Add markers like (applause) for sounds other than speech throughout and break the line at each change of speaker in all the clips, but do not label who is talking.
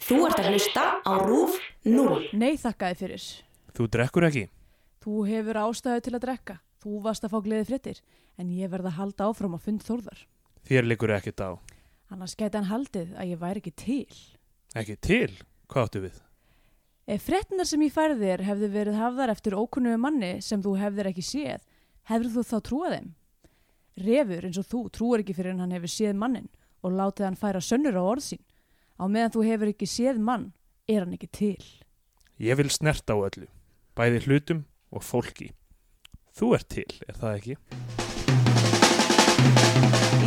Þú ert að hlusta á RÚF 0.
Nei, þakkaði fyrir.
Þú drekkur ekki?
Þú hefur ástæðu til að drekka. Þú varst að fá gleði fréttir, en ég verð að halda áfram að fund Þórðar.
Þér liggur ekkert á.
Annars gæti hann haldið að ég væri ekki til.
Ekki til? Hvað áttu við?
Ef fréttinar sem ég færði þér hefðu verið hafðar eftir ókunnugu manni sem þú hefðir ekki séð, hefur þú þá trúað þeim? Refur eins og þú trúar ekki fyrir en hann hefur séð mannin og látið hann færa sönnur á orð sín. Á meðan þú hefur ekki séð mann, er hann ekki til.
Ég vil snerta á öllu. Bæði hlutum og fólki. Þú ert til, er það ekki?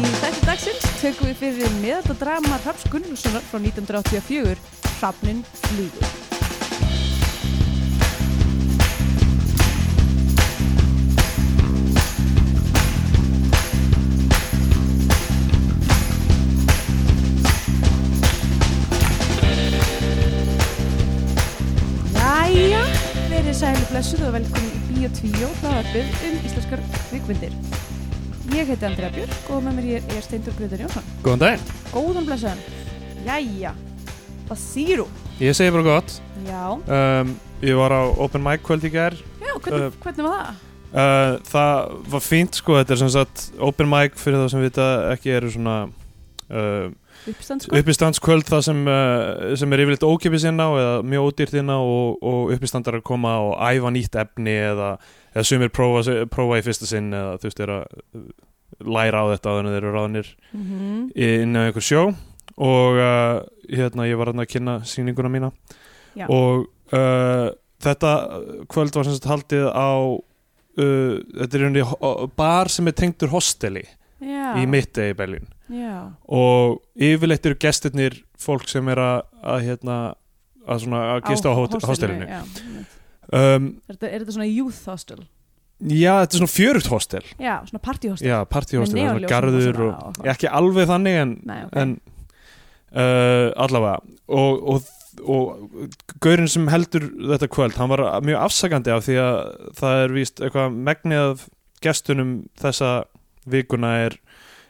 Í þætti dagsins tökum við fyrir meðaldadrama Hrafs Gunnarssonar frá 1984, Hrafnin flýgur. Jæja, verið sælu blessuð og velkomin í Bíó 2, hlaðarpið um íslenskar vikmyndir. Ég heiti Andrea Björk og með mér ég er Steindur Gröður Jónsson.
Góðan daginn.
Góðan blessaðan. Jæja, Basíru.
Ég segi bara gott.
Já.
Um, ég var á open mic kvöld í gær.
Já, hvernig, hvernig var það?
Uh, það var fínt sko, þetta er sem sagt open mic fyrir það sem vita ekki eru svona uh,
Uppstand sko?
uppistandskvöld það sem, uh, sem er yfirleitt ókipis inn á eða mjög ódýrt inn á og, og uppistandarar koma og æfa nýtt efni eða, eða sumir prófa, prófa í fyrsta sinn eða þú veist er að uh, læra á þetta áður en þeir eru ráðinir
Mm
inn á einhver sjó og uh, hérna ég var þarna að kynna sýninguna mína
Já.
og uh, þetta kvöld var sem sagt haldið á uh, þetta er einhvernig bar sem er tengdur hosteli
Já.
í mitti í Berlín
Já.
og yfirleitt eru gestirnir fólk sem er að, að hérna að svona að gista á, á
hóstelinu,
hostelinu
Já. einmitt.
um,
Er þetta, er þetta svona youth hostel?
já, þetta er svona fjörugt hostel
Já, svona party hostel.
já,
Með
partíhostel, það
neonljósum
er svona garður
og
og,
svona og-
já, ekki alveg þannig en,
Nei, ok.
en uh, allavega og, og og gaurinn sem heldur þetta kvöld, hann var mjög afsakandi af því að það er víst eitthvað megnið af gestunum þessa vikuna er,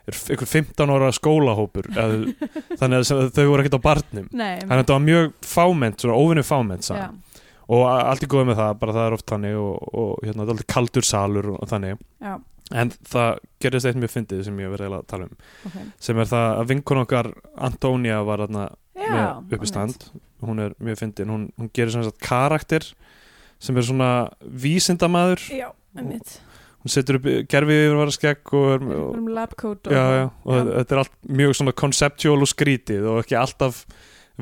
er einhver 15 ára skólahópur eð, þannig að sem- þau voru ekkert á barnum
(laughs) Nei.
Þannig að þetta var mjög fámennt, svona óvinni fámennt
já.
ja. og a- allt í góð með það, bara það er oft þannig og, og hérna, þetta er alltaf kaldur salur og þannig,
Já,
en það gerðist eitt mjög fyndið sem ég verði eiginlega að tala um
ok.
sem er það að vinkun okkar Antónia var þarna
Já.
með uppistand hún er mjög fyndin, hún, hún gerir sem sagt karakter sem er svona vísindamaður,
einmitt. Já, einmitt.
hún setur upp gerfi yfirvara skegg og er,
Við erum lab coat og...
já, já, og
Já.
þetta er allt mjög svona konceptjól og skrítið og ekki alltaf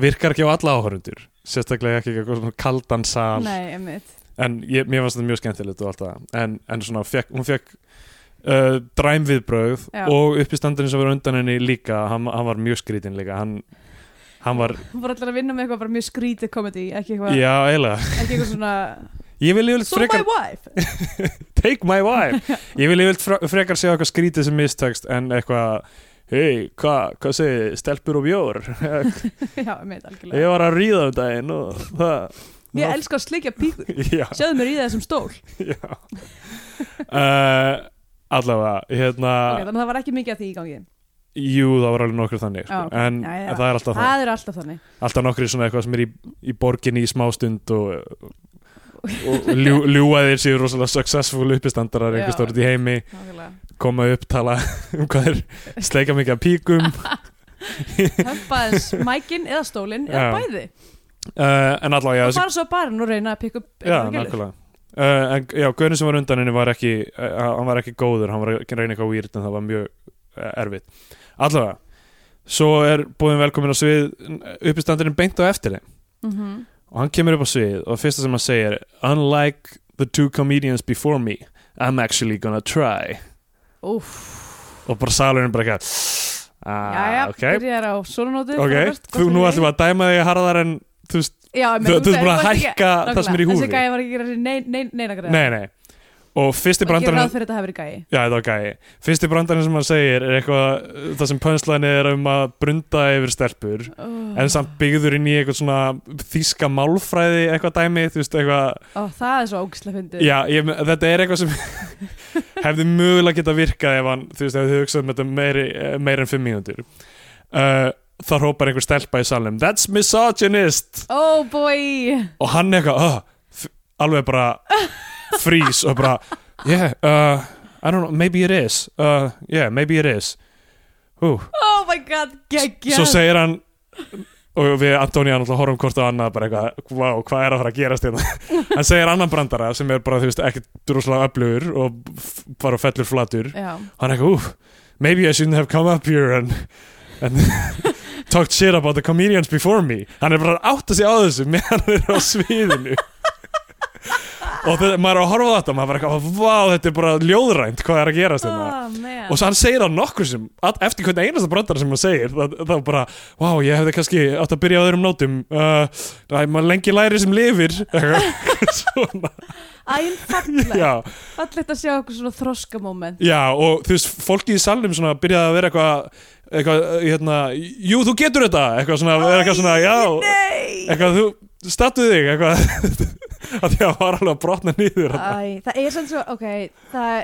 virkar ekki á alla áhörundur sérstaklega ekki eitthvað svona kaldan sal
Nei, einmitt.
en ég, mér fannst þetta mjög skemmtilegt og allt það en, en svona fekk, hún fekk uh, dræm viðbröð
Já.
og uppistandurinn sem var undan henni líka hann, hann var mjög skrítin líka hann, hann var,
Hún var allar að vinna með eitthvað bara mjög skrítið komedi, ekki eitthvað,
já eiginlega
ekki eitthvað svona...
ég vil yfirleitt
So my
frekar,
wife!
take my
(laughs)
wife ég vil yfirleitt fre- frekar segja eitthvað skrítið sem mistekst en eitthvað hei, hvað, hvað segið, stelpur og bjór (laughs)
já, einmitt, algjörlega.
Ég var að ríða um daginn og það
Ég
(laughs)
elska að slikja píkur.
Já,
Sjáðu mér í þessum stól.
já uh, Allavega, hérna
Ok, þannig að það var ekki mikið að því í gangi.
Jú, það var alveg nokkur þannig sko.
Já, ok.
en,
Já, já.
en það er alltaf það
Það er alltaf þannig.
Alltaf nokkur svona eitthvað sem er í, í borginni í smástund og,
(laughs)
og ljú, ljúaðir séu rosalega successful uppistandarar
Já.
einhver stórt í heimi,
Nákvæmlega.
koma upp tala (laughs) um hvað er sleika mikið af píkum
Hömpaðins mækin eða stólinn eða
Já.
bæði.
uh, en allavega, já,
Það
þessi
fara svo að barinn og reyna að pikka upp
Já,
eitthvað gælur.
nákvæmlega uh, en, Já, Gaurin sem var undan henni var ekki uh, hann var ekki góður, hann var ekki að reyna eitthvað výrt en það var mjög uh, erfitt Allavega, svo er búin velkomin á svið uppistandurinn beint á eftir þeim
Mhm.
og hann kemur upp á svið og það fyrsta sem hann segir Unlike the two comedians before me I'm actually gonna try
Úff,
og bara salurinn bara ekki
jæja,
ah,
ok.
ok,
byrjar á svona nótu.
ok þú nú ætlum við að dæma þig harðar en þú veist,
Já,
þú þú ert búin að hækka það sem er í húfi
Þessi gæi var ekki að gera neina nein, nein, greið.
Nei, nei Og
Og
fyrsti
ekki
brandarinn
ráð fyrir þetta hafi verið gæi.
Já, þetta var gæi. Fyrsti brandarinn sem hann segir er eitthvað, uh, það sem pönslæni er um að brunda yfir stelpur,
Oh.
en samt byggður inn í eitthvað svona þýska málfræði eitthvað dæmi, þú veist, eitthvað,
það er svo ógislega fyndið.
já, ég, þetta er eitthvað sem (laughs) hefði um mögulega geta virkað ef hann, þú veist, ef þið hugsaðum þetta meiri, meir en fimm mínútur. Uh, þá hrópar einhver stelpa í salnum That's misogynist
Oh boy
og hann eitthvað uh, f- alveg bara frýs og bara yeah, uh, I don't know, maybe it is uh, yeah, maybe it is Hú,
Oh my god, geggja
svo segir hann og við Antonija náttúrulega horfum hvort á annað bara eitthvað, wow, hvað er að fara að gerast hérna hann segir annan brandara sem er bara, þú veist, ekkert droslega öflugur og f- bara fellur flatur (laughs)
Já,
hann eitthvað, úf, maybe I shouldn't have come up here and, and (laughs) talked shit about the comedians before me hann er bara að átta sig á þessu meðan hann er á sviðinu og þegar maður er að horfa á þetta maður er bara eitthvað, vá, þetta er bara ljóðrænt hvað er að gerast hérna
oh man
og svo hann segir það nokkur sem að, eftir hvern einasta brandar sem hann segir þá, þá bara, wow, ég hefði kannski átt að byrja á öðrum nótum uh, það er maður lengi læri sem lifir (laughs) eitthvað svona,
Æn fallegt,
já
fallegt að sjá okkur svona þroskamoment
Já, og þú veist, fólki í salnum svona byrjaði að vera eitthvað, eitthvað, hérna, jú, þú getur þetta, eitthvað svona, vera eitthvað svona, já,
Nei
eitthvað, þú statuð þig, eitthvað, (laughs) að því að var alveg að brotna nýður þetta.
Æ, það er sem svo, ok, það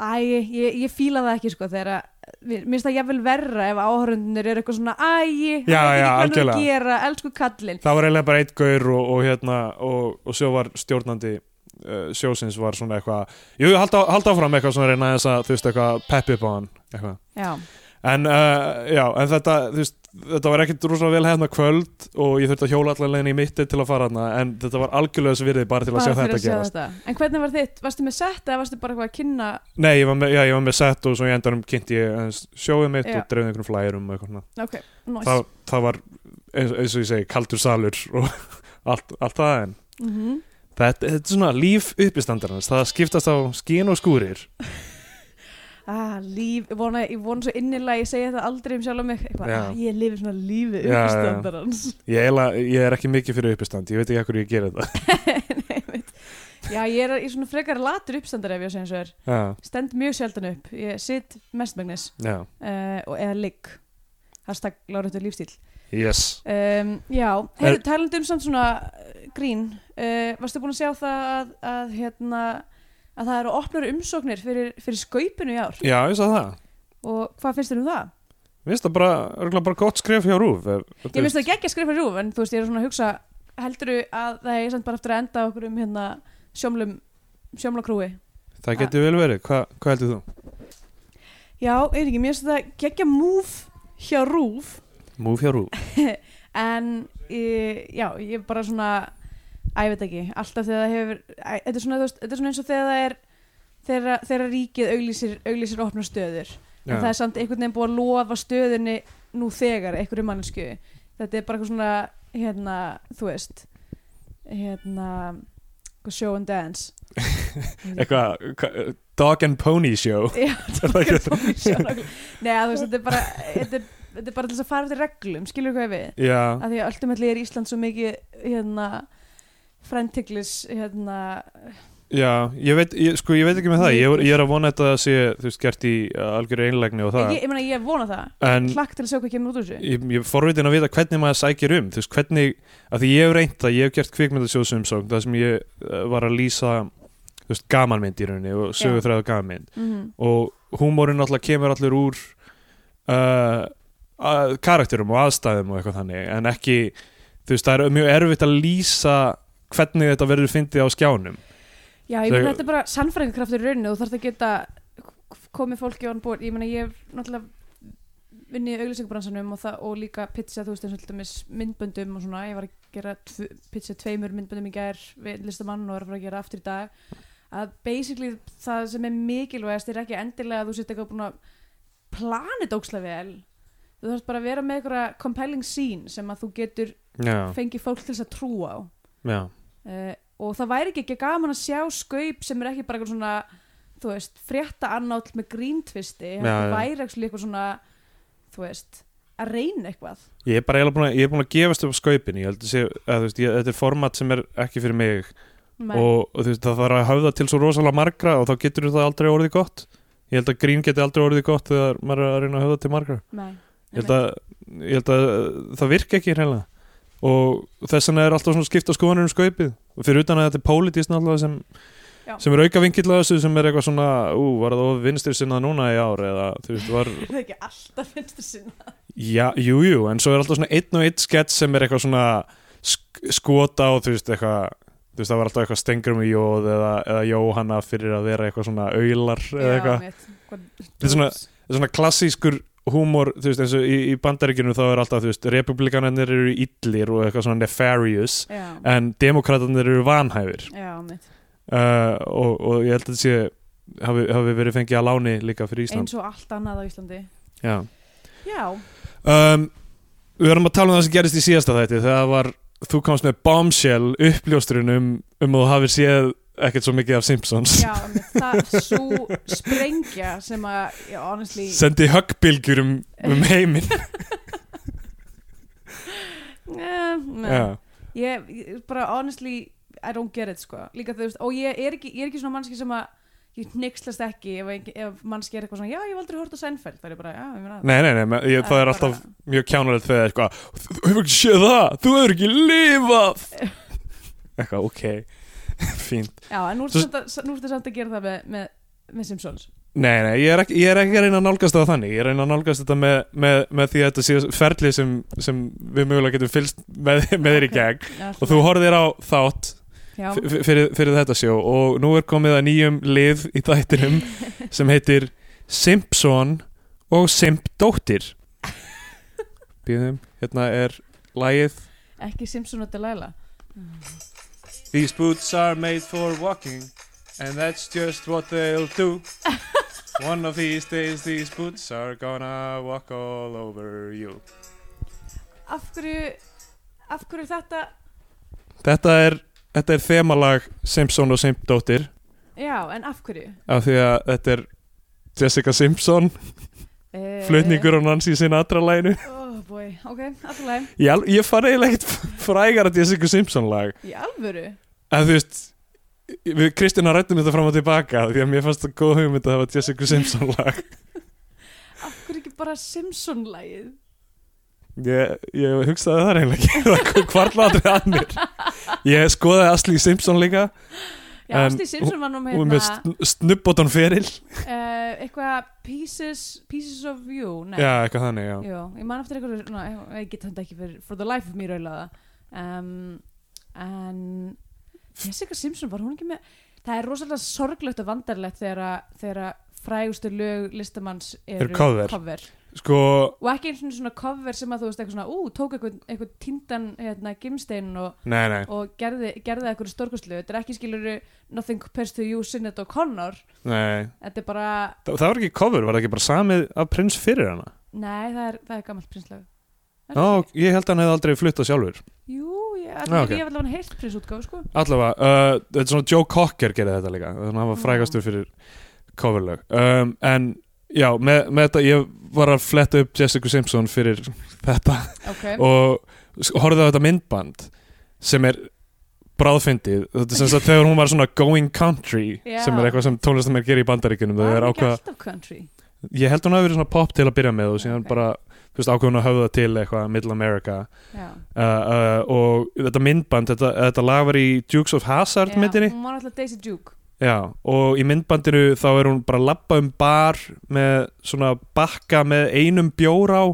Æ, ég, ég fíla það ekki sko þegar að mér minnst það jafnvel verra ef áhörundunir eru eitthvað svona Æ, hann veit ekki
Já,
hvað
já,
hann er að
algjörlega.
gera, elsku kallinn
Það var eiginlega bara eitt gaur og, og hérna, og, og svo var stjórnandi uh, sjósins var svona eitthvað, jú, hald, á, hald áfram eitthvað svona reyna þess að, þú veist, eitthvað peppi upp á hann, eitthvað.
Já,
En, uh, já, en þetta, þú veist, þetta var ekkert rosalega vel hefna kvöld og ég þurfti að hjóla allan leiðin í mitti til að fara hana en þetta var algjörlega þess virði bara til að
bara
sjá
fyrir
þetta
að sjá
gerast.
þetta En hvernig var þitt, varstu með sett eða varstu bara eitthvað að kynna
Nei, ég var með, já, ég var með set og svo ég endanum kynnti ég aðeins sjóið mitt
Já.
og dreifði einhvern flærum og eitthvað svona.
Ok, nice
Það, það var, eins, eins og ég segi, kaldur salur og (laughs) allt, allt það en.
mm
Þetta, þetta er svona líf uppistandarins, það skiptast á skín og skúrir.
ah, líf, ég vona, ég vona svo innilega ég segja þetta aldrei um sjálf mig eitthvað,
Já.
ah, ég lifi svona lífi
Já, já.
uppistandarans (laughs)
Ég, eila, ég er ekki mikið fyrir uppistand, ég veit ekki hvað ég gerir þetta. (laughs)
Nei, ég veit. já, ég er í svona frekar latur uppstandar ef ég sé eins og er
Já,
stend mjög sjaldan upp, ég sitt mestmægnis
já,
uh, og eða ligg hashtag láréttur lífstíl
yes.
um, já,
Er-
heyrðu, talandi um samt svona eh, grín, uh, varstu búin að sjá það að, að hérna að það eru opnur umsóknir fyrir, fyrir skaupinu í ár
Já, ég sagði það.
og hvað finnst þér um það?
Mér finnst það bara, örgulega bara gott skref hjá Rúf. ef- þú
Ég
veist-
minnst það ekki að skrifa rúf en þú veist ég er svona að hugsa heldur að það er samt bara eftir að enda á okkur um hérna sjómlum sjómlakrúi
Það getur vel verið, Hva, hvað heldur þú?
Já, Eiríki, mér finnst þetta geggja múf hjá rúf
Múf hjá Rúf.
en e, já, ég er bara svona að ég veit ekki, alltaf þegar það hefur æ, þetta er svona, þú veist, þetta er svona eins og þegar það er þegar, þegar ríkið auglýsir, auglýsir opna stöður en það er samt einhvern veginn búið að lofa stöðinni nú þegar einhverju mannsku þetta er bara eitthvað svona hérna, þú veist hérna eitthvað show and dance (laughs)
Eitthvað, hva- Dog and Pony Show.
Já,
Er
(laughs)
það ekki-
neða þú veist þetta er bara þetta er, þetta er bara til þess að fara eftir reglum skilur hvað ég við
Já,
að því að ultimately er Ísland svo mikið hérna frentiglis hérna
já, ég veit, ég, sko, ég veit ekki með það, ég, er- ég er að vona þetta að sé, þú veist, gert í uh, algjöru einlægni og það, Mm.
ég, ég meina ég vona það
en
hlakk til að sjá hvað kemur út úr þessu
ég, ég er forvitin að vita hvernig maður sækir um, þú veist, hvernig, að því ég hef reynt það, ég hef gert kvikmyndasjóðsumsókn, það sem ég eh, var að lýsa, þú veist, gamanmynd í rauninni og sögu þræðu gamanmynd
mhm,
og húmórin alltaf kemur allur úr uh, að, karakterum og aðstæðum og eitthvað þannig en ekki, þú veist, það er mjög erfitt að lýsa hvernig þetta verður fyndið á skjánum
Já, ég meina
Þegar-
þetta er bara sannfæringarkraftur í rauninu þú þarf að geta komið fólki on board, ég meina ég hef náttúrulega vinni í auglýsingabransanum og, það- og líka pitcha, þú veist, eins og alltaf með myndböndum og svona, ég var að gera tv pitcha tveimur myndböndum í gær við listamann og er að fara að gera aftur í dag að basically það sem er mikilvægast er ekki endilega að þú sitt eitthvað búin að planið ókslega vel þú þarfst bara að vera með eitthvað compelling scene sem að þú getur
Já,
fengið fólk til þess að trúa á
já,
uh, og það væri ekki, ekki gaman að sjá skaup sem er ekki bara eitthvað svona þú veist, frétta annáll með gríntvisti
Já,
það
já.
væri ekki eitthvað svona þú veist, að reyna eitthvað
ég er bara eiginlega búin að, ég er búin að gefast upp á skaupinu, ég held að sé að þú veist, ég, þetta er format sem er ekki fyrir mig
Men,
og, og þú veist, það þarf að höfða til svo rosalega margra og þá getur það aldrei orðið gott ég held að grín geti aldrei orðið gott þegar maður er að reyna að höfða til margra
nei,
ég held að, ég held að uh, það virka ekki hreinlega og þess vegna er alltaf svona skipta skoðanir um skaupið og fyrir utan að þetta er pólitísn alltaf sem
já, Já.
sem er auka vinkill að þessu sem er eitthvað svona, ú, var það of vinstir sinnað núna í ár eða þú veist, var
Það er ekki alltaf finnstu sinna.
Já, jú, jú, en svo er alltaf svona einn og einn skets sem er eitthvað svona sk skota og þú veist eitthvað þú veist það var alltaf eitthvað stengrum í jóð eða, eða Jóhanna fyrir að vera eitthvað svona aular eða eitthvað, Þetta er svona- svona klassískur húmor, þú veist eins og í, í bandaríkinu þá er alltaf, þú veist, republikanarnir eru illir og eitthvað svona nefarious
Já,
en demokratarnir eru vanhæfir
já, mitt.
uh, og, og ég held að þetta sé hafi, hafi verið fengið að láni líka fyrir Ísland
Eins og allt annað á Íslandi.
Já
Já,
um, Við verðum að tala um það sem gerist í síðasta þætti þegar það var, þú komst með bombshell uppljósturinn um, um að þú hafið séð ekkert svo mikið af Simpsons
já, mitt. Það er svo sprengja sem að, já, honestly,
sendi höggbylgjur um, um heiminn
eh, nei.
Já,
ég, ég- bara honestly I don't get it sko líka þú veist og ég er ekki, ég er ekki svona mannski sem að ég hneykslast ekki ef, einhver- ef mannski er eitthvað svona já ég hef aldrei hort á Seinfeld það er ég bara já ég meina
Nei, nei, nei, men ég, það er
bara-
alltaf mjög kjánulegt þegar eitthvað, þú þú hefur ekki séð það þú hefur ekki lifað eitthvað, ok (laughs) fínt,
já en nú ertu
Svo-
samt að- nú ertu samt að gera það með, með, með Simpsons
nei, nei, ég er ekki, ég er ekki að reyna að nálgast það þannig, ég er að reyna að nálgast þetta með, með, með því að þetta sé ferli sem, sem við mögulega getum fylst með, (laughs) með þér í
Ok.
gegn
Já,
og þú horfðir á þátt
já,
f- f- fyrir, fyrir þetta sjó og nú er komið að nýjum lið í þættinum sem heitir Simpson og Simpdóttir býðum, hérna er lagið
ekki Simpson og Delilah
These boots are made for walking and that's just what they'll do One of these days these boots are gonna walk all over you
af hverju af hverju þetta
Þetta er, þetta er þemalag Simpson og Simpdóttir
já en af hverju
af því að þetta er Jessica Simpson
Eh,
flutningur á Nancy Sinatra læginu
oh boy ok alltaf leið
ég, al- ég fann eiginlega ekkert frægar að Jessica Simpson lag
í alvöru
en þú veist við Kristina rættum þetta fram og tilbaka því að mér fannst það góð hugmynd að það var Jessica Simpson lag
af hverju ekki bara Simpson lagið
ég, ég hugsaði það eiginlega ekki (laughs) það kom kvartlatrið að mér ég skoðaði Ashley Simpson líka
já
En-
Ástíð Simpson var nú með
og með
hérna-
sn snubbotan feril
uh, eitthvað pieces, pieces of you nei,
já, eitthvað þannig, já
Jú, ég man eftir eitthvað ná, ég get þetta ekki fyrir, for the life of me raulaða um, en Jessica Simpson var hún ekki með það er rosalega sorglegt og vandarlegt þegar, að- þegar að frægustu lög listamanns eru
Eru cover. sko,
og ekki eins og svona cover sem að þú veist eitthvað svona, ú, tók eitthvað, eitthvað tindan hérna, gimstein og,
nei, nei,
og gerði, gerði eitthvað stórkostlu, þetta er ekki skilur nothing compares to you, Sinnet og Connor
nei
þetta er bara,
Þa, það var ekki cover, var það ekki bara samið af prins fyrir hana?
nei, það er, það er gammalt prinslag
Já, ég held að hann hefði aldrei fluttað sjálfur
Jú, ég hef
Já, ok.
allavega okay. heilt prinsútgáfu sko
Allavega, uh, þetta er svona Joe Cocker gerði þetta líka, þannig að hann var
Já.
frægastur fyrir coverlög um, en já, með, með þetta, ég var að fletta upp Jessica Simpson fyrir þetta
okay.
og s- horfði á þetta myndband sem er bráðfyndið, þetta er sem sagt þegar hún var svona going country,
Já. Ah,
sem er eitthvað sem tónlistamenn gerir í bandaríkunum, það er ákvað
Gert af country
ég held hún hafi verið svona pop til að byrja með og síðan
Ok.
bara, þú veist, ákveðun að höfða til eitthvað Middle America
Já,
uh, uh, og þetta myndband, þetta, þetta lag var í Dukes of Hazzard myndinni
Hún var alltaf Daisy Duke
Já, og í myndbandinu þá er hún bara að labba um bar með svona bakka með einum bjór á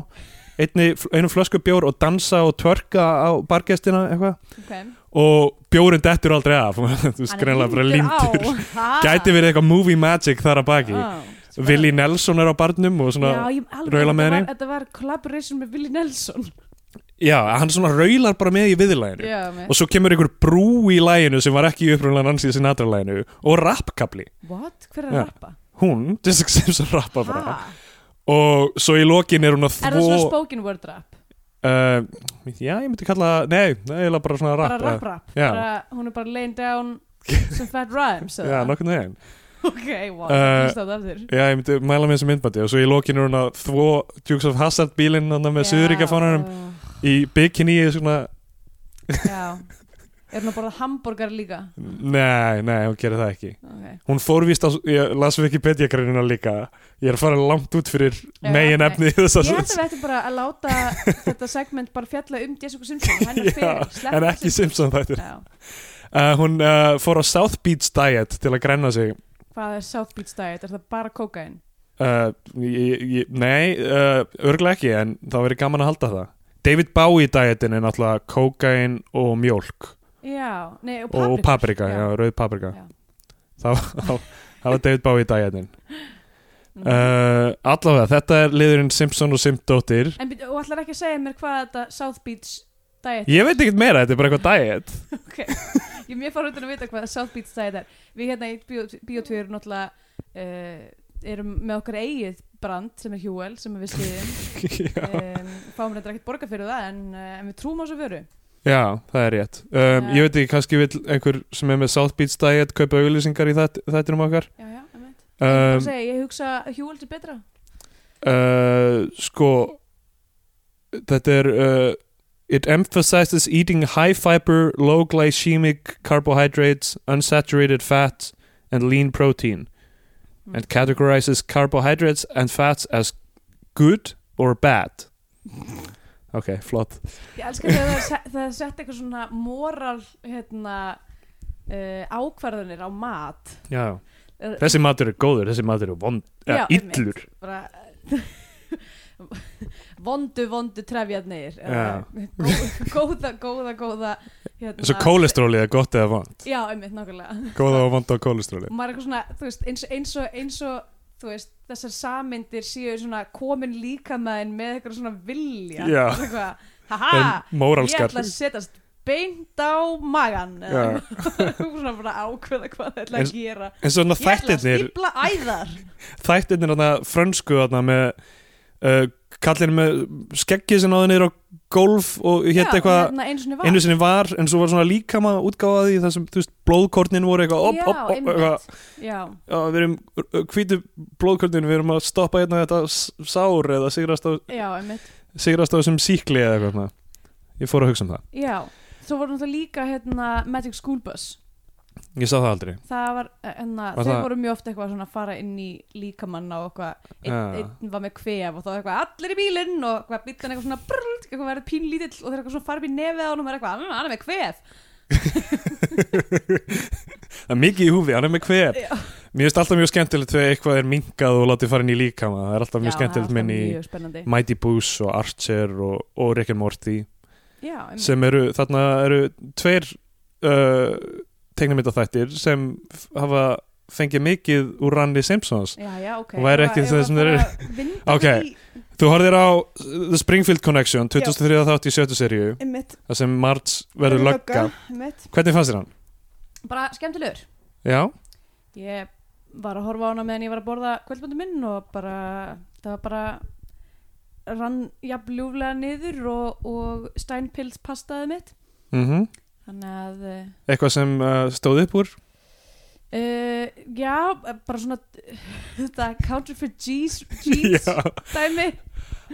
einni, einum flösku bjór og dansa og tvörka á bargestina eitthvað
okay.
og bjórin dettur aldrei af (laughs) þú veist
Hann er
greinlega bara
límdur á.
lindur
Ha.
(laughs) gæti verið eitthvað movie magic þar að baki
Á, spennandi.
Willi Nelson er á barnum og svona,
Já, ég alveg
raula
þetta
með
var-
henni.
Þetta var collaboration með Willi Nelson
já. hann svona raular bara með í viðlæginu
Já, með
og svo kemur einhver brú í læginu sem var ekki í upprunlega Nancy Sinatra læginu og rappkabli,
What? Hver er
Já.
að rappa?
hún Jessica Simpson rappa bara
Ha?
og svo í lokin er hún að
Er það svona
þvó
spoken word rap?
uh, já, ég myndi kalla það nei, það er eiginlega bara svona rap eh.
Bara rap rap
Já.
bara, Hún er bara laying
(laughs)
down some fat rhymes
já,
eða?
nokkurn veginn
Ok, wow,
Eh,
uh, hlusta á það aftur
já, ég myndi mæla með þessu myndbandi og svo í lokin er hún að þvó Dukes of Hazzard bílinn þarna með
Já,
Suðuríkjafánanum
ó,
í bikini í svona,
Já Er hún að borða hambúrgar líka?
Nei, nei, hún gerir það ekki
Okay.
Hún fór víst á, ég las Wikipedia greinina líka Ég er farin langt út fyrir
Já,
megin
ok.
efni þess
Ég held að við ættum bara að
(laughs)
láta þetta segment bara fjalla um Jessica Simpson hennar
Já,
fyrir, sleppa
En ekki Simpson þættir
Já.
uh, Hún uh, fór á South Beach Diet til að grenna sig
Hvað er South Beach Diet? Er það bara kókain?
uh, ég, ég, Nei, uh, örglega ekki En það verið gaman að halda það David Bowie Dietin er náttúrulega kókain og mjólk
Já, nei, og
og
paprika.
paprika, já,
já.
rauð paprika
Já.
það, var- það var David Bowie dæjatin
Mm.
uh, allavega, þetta er liðurinn Simpson og Simpdóttir
En býttu, og ætlar ekki að segja mér hvað þetta South Beach Diet
ég veit ekkert meira, þetta er bara eitthvað dæjat
(laughs) Ég mér fór út að vita hvað South Beach Diet er Við hérna í Bíotvíu erum náttúrulega uh, erum með okkar eigið brand sem er Hjúel sem er við sliðum
(laughs)
um, fáum reyndar ekkert borga fyrir það en, uh, en við trúum á svo veru
já, það er rétt um,
Já.
ég veit ekki, kannski vil einhver sem er með South Beach dæjat kaupa auglýsingar í þætt, þættinum okkar
Já, já, einmitt. Ég er bara að
um,
segja, ég hugsa að Hjúel til betra
uh, sko þetta er uh, It emphasizes eating high fiber, low glycemic carbohydrates, unsaturated fat and lean protein.
Mm.
and categorizes carbohydrates and fats as good or bad ok, flott
Ég
(coughs)
elskar þegar það er se- það er sett eitthvað svona moral hérna, uh, ákvarðanir á mat
já.
Eh,
þessi matur er góður, þessi matur er vond eða
Já,
illur
bara (laughs) vondu, vondu trefjarnir
Já.
Gó- (laughs) góða, góða, góða hérna.
eins og kólestróli er gott eða vond
já, einmitt, nákvæmlega
góða og vond á kólestróli
og maður er eitthvað svona, þú veist, eins, eins og, eins og þú veist, þessar samindir séu svona komin líka maður með eitthvað svona vilja
Já.
Eitthvað,
það
haha,
er
Ah, ég
móralskar
ætla að setjast beint á magan
Já.
eða (laughs) eitthvað. svona bara ákveða hvað það ætla
Eins-
að gera
eins og þarna
ég ætla að
þættirnir
stípla æðar
þættirnir þarna frönsku þarna með uh, kallin með skeggið sem náði niður á golf og
Já,
hétt eitthvað
hérna einu sinni var
einu sinni var en svo var svona líkama útgáfaði þar sem þú veist blóðkornin voru eitthvað op,
já,
op, op, eitthvað
einmitt, já
já, við erum uh, hvítu blóðkvöldin, við erum að stoppa hérna þetta s- sár eða sigrast á,
Já, einmitt
sigrast á þessum síkli eða eitthvað svona. ég fór að hugsa um það,
Já, svo voru náttúrulega líka hérna, Magic School Bus
ég sá það aldrei
það var, eh, hérna,
Var
þau
það-
voru mjög ofta eitthvað svona að fara inn í líkamann og eitthvað, einn,
Já.
einn var með kvef og þá var eitthvað allir í bílinn og eitthvað bílinn eitthvað svona brrrt, eitthvað verið pínlítill og þeir eitthvað svona farið í nefið á hann og maður eitthvað, "Mm, hann er með kvef
það er mikið í húfi, hann er með hver
Já.
mér finnst alltaf mjög skemmtilegt þegar eitthvað er minkað og látið fara inn í líkama það er alltaf mjög
Já,
skemmtilegt
það var
minn í
mjög spennandi
Mighty Boos og Archer og, og Rick and Morty
Já, einmitt.
sem eru, þarna eru tveir uh, teiknumyndaþættir sem f- hafa fengið mikið úr Randy Simpsons
já, já, ok
Hún væri ekki það sem þeir eru.
Ok
(laughs) Ok. Þú horfðir á uh, The Springfield Connection 2003 þátt í sjötu seríu
Einmitt,
þar sem Marge verður
verður
lögga
einmitt.
Hvernig fannst þér hann?
Bara skemmtilegur
Já,
Ég var að horfa á hana meðan ég var að borða kvöldbundu minn og bara, það var bara rann jafn ljúflega niður og, og steinpils pastaði mitt.
mm
Þannig að, uh,
eitthvað sem uh, stóð upp úr
eh, já, bara svona (laughs) þetta counter for G's, G's
(laughs) Já.
dæmi. (laughs)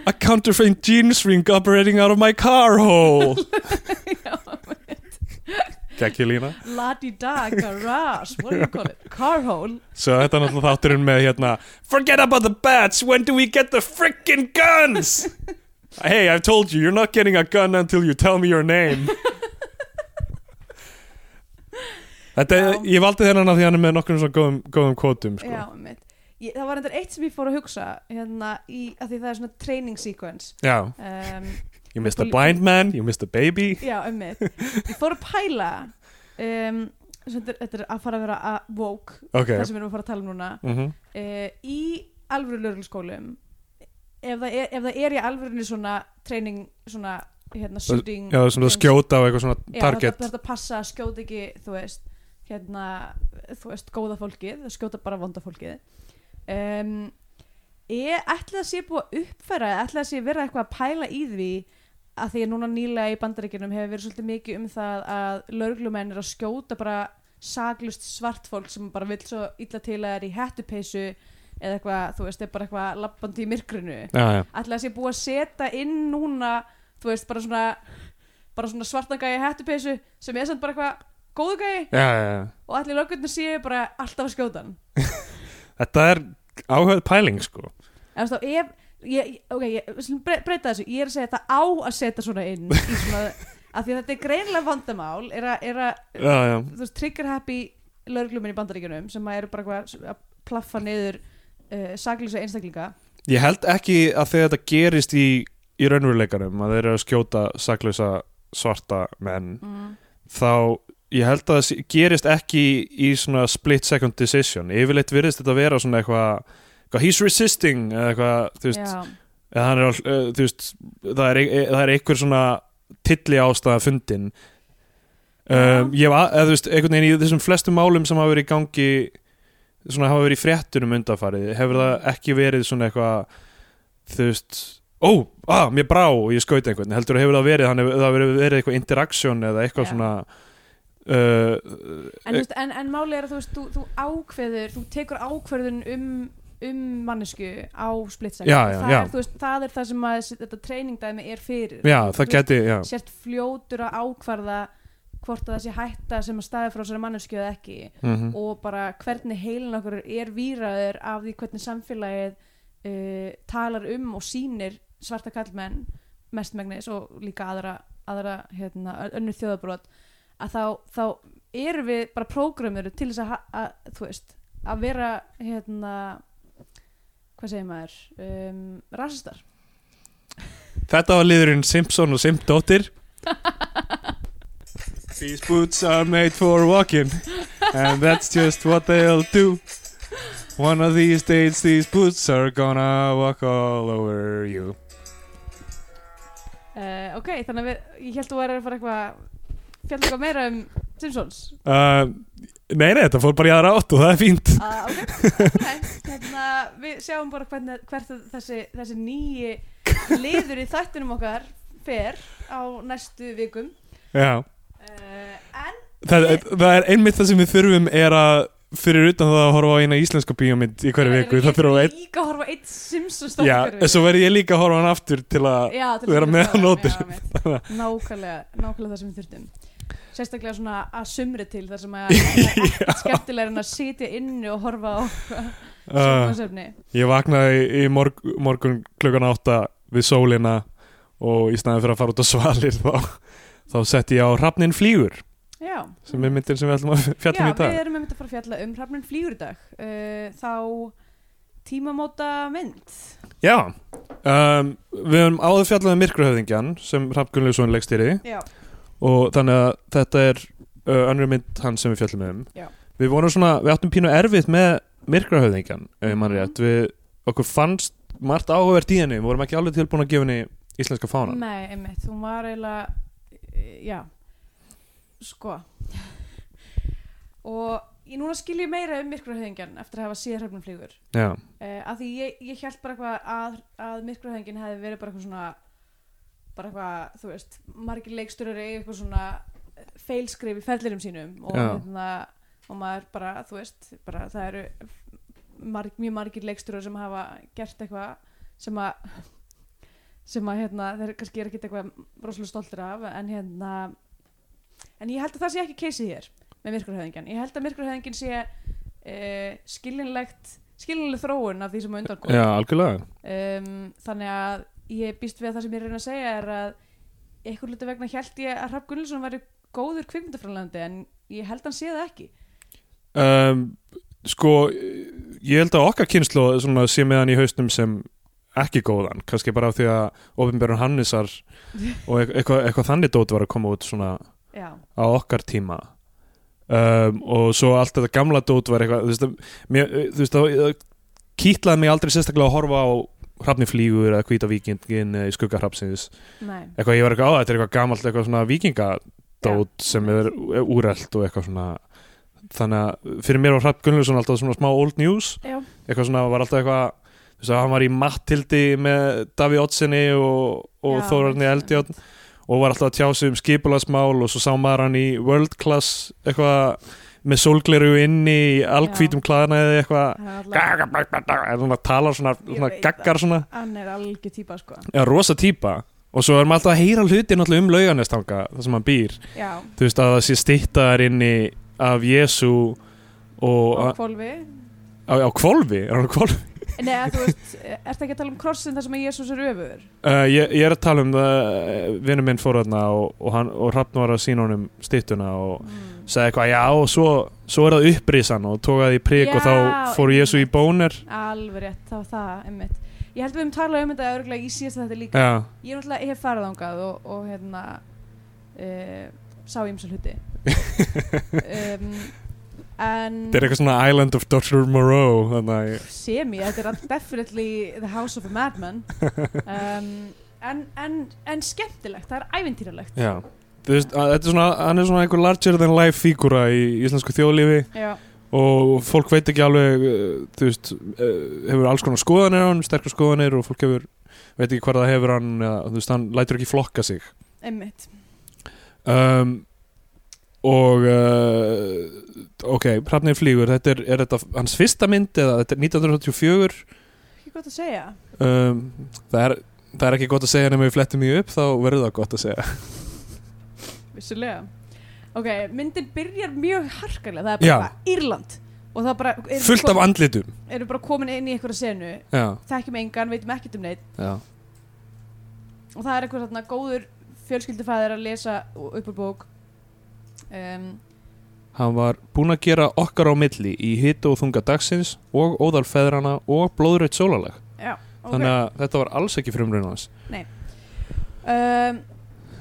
A counterfeit gene string operating out of my car (laughs) hole
Já,
Gekki lína
La-di-da, garage, what do you call it? Carhole.
Svo þetta er náttúrulega þátturinn með hérna Forget about the bats, when do we get the frickin' guns? hey, I've told you, you're not getting a gun until you tell me your name Þetta, er,
Já.
ég valdi þennan að því hann er með nokkrum svona góðum, góðum kótum sko.
Já, mitt. Ég, það var endur eitt sem ég fór að hugsa hérna í, að því það er svona training sequence.
Já. (laughs)
Um,
You missed a
Poli-
blind man, you missed a baby
Já, um mitt Ég fór að pæla um, sem þetta, er- þetta er að fara að vera að woke
Ok
það sem við erum að fara að tala um núna
mm
uh, í alvöru lögreglskólum ef, það er- ef það er í alvörunni svona training svona hérna shooting
Já, það er svona að skjóta á eitthvað svona
Já,
target
þetta, þetta passa að skjóta ekki þú veist, hérna þú veist, góða fólkið, það skjóta bara vonda fólkið um, ég ætla að sé búið að uppfæra eða ætla að sé vera eitthvað að pæla í því að því að núna nýlega í bandaríkjunum hefur verið svolítið mikið um það að lögreglumenn er að skjóta bara saglust svart fólk sem bara vill svo illa til að er í hettupeysu eða eitthvað, þú veist, er bara eitthvað lappandi í myrkrinu
Já, já
ætla að sé búið að setja inn núna þú veist bara svona bara svona svartan gæi í hettupeysu sem er samt bara eitthvað góðu gæi
já, já, já.
og allir löggurnar séu bara alltaf að skjóta hann
Þetta er áhugað pæling sko
En þú veist, þá ef ég, ég- ok, ég, við skulum bre- breyta þessu ég er að segja þetta á að setja svona inn í svona, af því að þetta er greinilega vandamál er að, er að
Já, já,
þú veist, trigger happy lögregluminn í bandaríkjunum sem að eru bara hvað að plaffa niður uh, saklýsa einstaklinga
Ég held ekki að þegar þetta gerist í, í raunveruleikanum að þeir eru að skjóta saklausa svarta menn þá ég held að það sé- gerist ekki í svona split second decision yfirleitt virðist þetta vera svona eitthvað eitthvað, he's resisting eða eitthvað, þú veist,
Já.
eða hann er, al- eh, þú veist það, er, e- það er einhver svona tilli ástæða fundin um, ég hef að, eða, þú veist, einhvern veginn í þessum flestum málum sem hafa verið í gangi svona hafa verið í fréttunum undanfarið hefur það ekki verið svona eitthvað þú veist, ó, að, mér brá og ég skaut einhvern, heldur hefur það verið hann hefur það hefur verið eitthvað interaction eða eitthvað
Já.
svona uh,
en, þú veist, en, en máli er að þú, veist, þú, þú ákveður þú tekur ákverðun um um mannesku á splitsak
Já, já,
það,
já.
Er, þú veist, það er það sem að þessi- þetta treiningdæmi er fyrir
já, það geti já,
sért fljótur að ákvarða hvort að það sé hætta sem að staði frá þessari mannesku eða ekki
mm
og bara hvernig heilin okkur er víraður af því hvernig samfélagið uh, talar um og sýnir svarta kallmenn mestmegnis og líka aðra, aðra hérna, önnur þjóðabrot að þá, þá erum við bara prógrumir til þess að, ha- að þú veist að vera hérna hvað segir maður um, rasistar
Þetta var liðurinn Simpson og Simpdóttir These boots are made for walking And that's just what they'll do One of these days these boots are gonna walk all over you
uh, ok, þannig að við, ég held að vera að fara eitthvað fjalla eitthvað meira um Simpsons
uh, Nei, nei, þetta fór bara í aðra átt og það er fínt
Uh, ok,
(laughs)
ok, hérna við sjáum bara hvernig, hvert þessi, þessi nýji liður í þættinum okkar fer á næstu vikum
Já
uh, en
það, það er einmitt það sem við þurfum er að fyrir utan það að horfa á eina íslenska bíómynd í hverju viku Það þurfum
að
að
eitt líka að horfa á eitt Simpsons þátt
Já,
í hverju viku.
svo verð ég líka að horfa á hann aftur til að
Já, til að
vera
finna
með á
það,
nótur.
já,
(laughs)
einmitt. nákvæmlega, nákvæmlega það sem við þurftum sérstaklega svona að sumri til þar
(laughs)
sem að skemmtilega en að sitja inni og horfa á
uh,
sjókvæmsefni
Ég vaknaði í morg, morgun klukkan átta við sólina og í staðin fyrir að fara út á svalir þá, þá setti ég á Hrafnin flýgur
Já,
sem er myndin sem við ætlum að (laughs) fjalla um í
Já,
dag
við erum einmitt að fara að fjalla um Hrafnin flýgur í dag uh, þá tímamóta mynd
Já, um, við höfum áður fjallað um Myrkrahöfðingjan sem Hrafn Gunnlaugsson leikstýri
Já,
og þannig að þetta er uh, önnur mynd hans sem við fjallum um
Já.
Við vorum svona, við áttum pínu erfitt með Myrkrahöfðingjan, ef mann
Mhm.
rétt við, okkur fannst margt áhugavert í henni við vorum ekki alveg tilbúin að gefa henni íslenska fánan
nei, einmitt, hún var eiginlega eh, já sko og ég núna skil ég meira um myrkrahöðingjan eftir að hafa séð Hrafnin flýgur
Já,
uh, af því ég, ég held bara eitthvað að, að myrkrahöðingin hefði verið bara eitthvað svona bara eitthvað, þú veist margir leikstjórar eiga eitthvað svona eh, feilskrif í ferðlirum sínum og,
Já.
hérna, og maður bara, þú veist bara, það eru marg, mjög margir leikstjórar sem hafa gert eitthvað sem að sem að hérna, þeir kannski er ekkit eitthvað rosalega stoltir af en hérna en ég held að það sé ekki keisið hér með myrkurhæðingjan, ég held að myrkurhæðingin sé uh, skilinlegt skilinleg þróun af því sem undan kom
já algjörlega
um, þannig að ég býst við að það sem ég reyna að segja er að einhver hluti vegna held ég að Raff Gunnlsson væri góður kvikmyndafrænlandi en ég held hann sé það ekki
um, sko ég held að okkar kynslu svona, sé með hann í haustum sem ekki góðan kannski bara af því að ofinberun Hannesar og eit- eitthvað, eitthvað þannig dót var að koma út svona
já,
á okkar tíma um, og svo allt þetta gamla dót var eitthvað þú veist, að- mér, þú veist að það kýtlaði mig aldrei sérstaklega að horfa á hrafni flýgur eða hvíta vikingin eða í skugga hrafsins
nei,
eitthvað ég var eitthvað á þetta er eitthvað gamalt eitthvað svona vikingadót sem er úrælt og eitthvað svona þannig að fyrir mér var Hrapp Gunnlaugsson alltaf svona smá old news
já,
eitthvað svona var alltaf eitthvað þú veist að hann var í Mattildi með Daví Ottsinni og, og
Já,
Þórarni
einmitt,
Eldjárn og var alltaf að tjá sig um skipulagsmál og svo sá maður hann í world class eitthvað með sólgleru inni í alhvítum klæðnaði eitthvað
hann er alltaf
en hann talar svona,
Ég
svona
veit það.
gaggar svona
hann er algjör típa sko
Já, rosa típa og svo er maður alltaf að heyra hluti náttúrulega um lauganestanga þar sem hann býr
Já,
þú veist að það sé styttaðar inni af Jésu og
á
á,
kvolfi
á, á kvolfi, er hann á kvolfi?
Nei, að þú veist, ertu ekki að tala um krossin þar sem að Jésús er öfur?
(laughs) Uh, ég, ég er að tala um það vinnu minn fór þarna og, og, hann- og Hrafn var að sína honum styttuna og
Mm.
sagði eitthvað já og svo, svo er það upprisan og tókaði í prik og
Já,
þá fór Jésu í bónir
Alveg rétt, þá það, einmitt Ég held við um talað um þetta örgulega í síðast þetta líka
já,
Ég er náttúrulega, ég hef farið ángað og, og hérna uh, sá ymsa
(laughs)
hluti um, En
þetta er eitthvað svona Island of Dr. Moreau þannig að
semi, þetta er all- definitely the house of a madman um, en, en, en skemmtilegt, það er ævintýralegt
já. Þú veist, að- þetta er svona, hann er svona einhver larger than life fígúra í íslensku þjóðlífi
Já,
og fólk veit ekki alveg uh, þú veist, uh, hefur alls konar skoðanir á hann, sterkur skoðanir og fólk hefur veit ekki hvað það hefur hann eða, þú veist, hann lætur ekki flokka sig
einmitt
um, og uh, ok, Hrafnir flýgur þetta er, er þetta hans fyrsta mynd eða þetta er 1984
Ekki gott að segja
um, það er Það er ekki gott að segja nema við flettum í upp, þá verður það gott að segja.
Vissulega Ok, myndin byrjar mjög harkarlega Það er bara,
Já.
bara Írland Og það bara erum
Fullt af
kom,
andlitum.
Erum bara komin inn í einhverja senu
Já,
Þekkjum engan, veitum ekkert um neitt
já.
Og það er einhver þarna góður fjölskyldufæðir að lesa upp úr bók um,
Hann var búinn að gera okkar á milli í hitt og þunga dagsins og óðalfeðrana og blóðröitt sólalag.
okay.
Þannig að þetta var alls ekki frumraun hans.
um,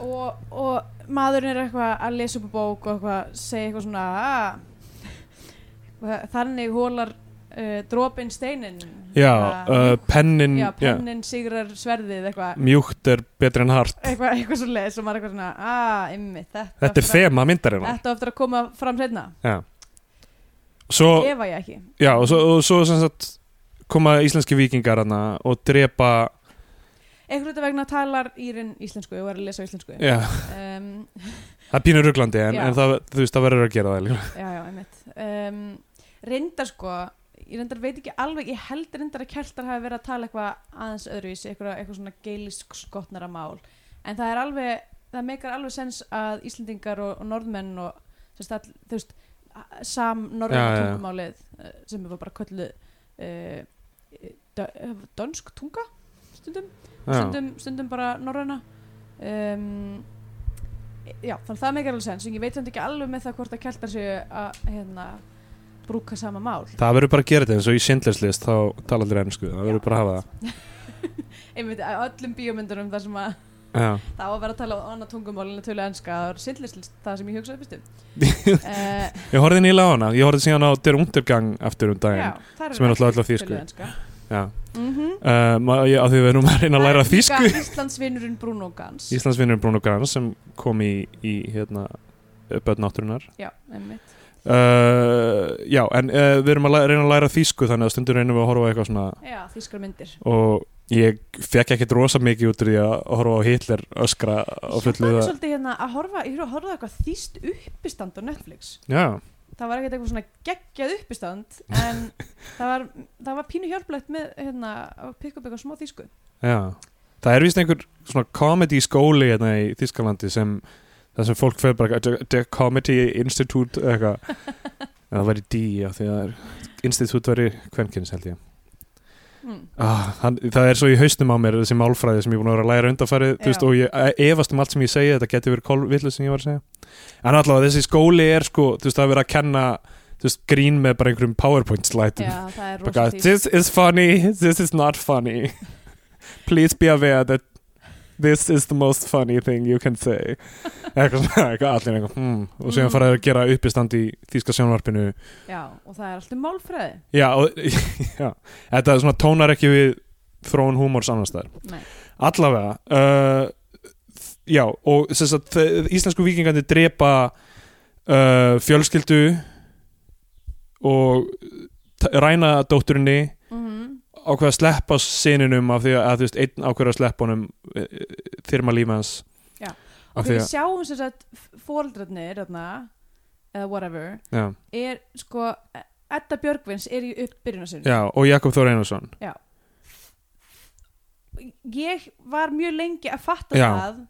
og, og maðurinn er eitthvað að lesa upp úr bók og eitthvað, segja eitthvað svona "Ah, Þannig hólar uh, dropinn steinin
Já, uh,
Ah,
pennin,
já,
já,
pennin sigrar sverðið eitthvað
mjúkt er betri en hart.
eitthvað, eitthvað svo leið sem var eitthvað svona að, ymmi, þetta,
Þetta
á
er
eftir
þema
að-
myndarinnar.
þetta á eftir að koma fram hreitna
Svo,
efa ég ekki
já, og svo, og svo sem sagt, koma íslenski vikingar hana og drepa,
einhvern veginn vegna talar Írin íslensku og er að lesa á íslensku
já,
um,
það pínur ruglandi en,
Já.
en það, þú veist, það verður að gera það líka.
já, já, einmitt um, reyndar sko ég reyndar veit ekki alveg, ég held reyndar að keltar hafi verið að tala eitthvað aðeins öðruvísi eitthvað, eitthvað svona geilisk skotnara mál en það er alveg, það meikar alveg sens að Íslendingar og, og norðmenn og þú veist, all, þú veist a- sam norðmenn
Já, já, já.
tungumálið eh, sem við bara kölluð eh, uh, dönsk tunga stundum
Já,
stundum, stundum bara norræna um, já, þannig að það meikar alveg sens en ég veit samt ekki alveg með það hvort að keltar séu að hérna, brúka sama mál
það verður bara að gera þetta eins og í sindlerslist þá tala allir ennsku, það verður bara að hafa það.
einmitt að öllum bíómyndunum þar sem að
Já.
það á að vera að tala á annað tungumál en að tölu enska það er sindlislist það sem ég hugsaði
(laughs)
fyrst um uh,
Ég horfði nýla á hana, ég horfði síðan á Der Untergang aftur um
já,
daginn,
það er
sem er náttúrulega alltaf
töluð
þýsku.
enska
Já,
mm
um, ég, að því við erum að reyna að læra þýsku.
Íslandsvinurinn Bruno Gans
Íslandsvinnurinn Bruno Grans sem kom í, í hérna, börn átturinnar.
já, einmitt
Uh, já, en uh, við erum að læ- reyna að læra þýsku þannig að stundur reynum við að horfa á eitthvað svona
já, þýskar myndir
og ég fekk ekkert rosa mikið út úr því að horfa á Hitler öskra á
Ég
fullu
var
það.
svolítið hérna að horfa, ég er að horfa á eitthvað þýst uppistand á Netflix
Já,
það var ekkert eitthvað svona geggjað uppistand
(laughs)
en það var, það var pínu hjálplegt með hérna, að pikka upp eitthvað smá þýsku
já. Það er víst einhver svona comedy skóli hérna í Þýskalandi sem það sem fólk fer bara The- The Comedy Institute eða eitthvað. En það væri D, já, því að það er Institute væri kvenkins held ég.
mm.
Ah, hann, það er svo í hausnum á mér þessi málfræði sem ég er búin að vera að læra undanfarið þú
Já.
veist, og ég e- efast um allt sem ég segi þetta geti verið kolvillu sem ég var að segja en allavega þessi skóli er sko þú veist, það er verið að kenna þú veist, grín með bara einhverjum powerpoint slætum
já, það er rosa
Bara,
þýst
this is funny, this is not
(laughs)
funny please be aware that this is the most funny thing you can
(laughs)
say eitthvað svona, eitthvað allir eitthvað hmm. og síðan
Mm.
faraði að gera uppistand í þýska sjónvarpinu
já, og það er alltaf málfræði
Já, og, (laughs) já, þetta svona tónar ekki við þróun húmórs annars staðar.
Nei.
Allavega, uh, þ- já, og þess að þe- íslensku vikingandi drepa uh, fjölskyldu og t- ræna dótturinni
mm
ákveða að sleppa sininum af því að, að þú veist, einn ákveða að sleppa honum eh, eh, þyrma líf hans.
Já,
Af
og
því
við
að,
sjáum sér að fóreldrarnir þarna, eða whatever
já,
er sko Edda Björgvins er í uppbyrjuna sinni
já, og Jakob Þór Einarsson.
ég var mjög lengi að fatta
Já.
það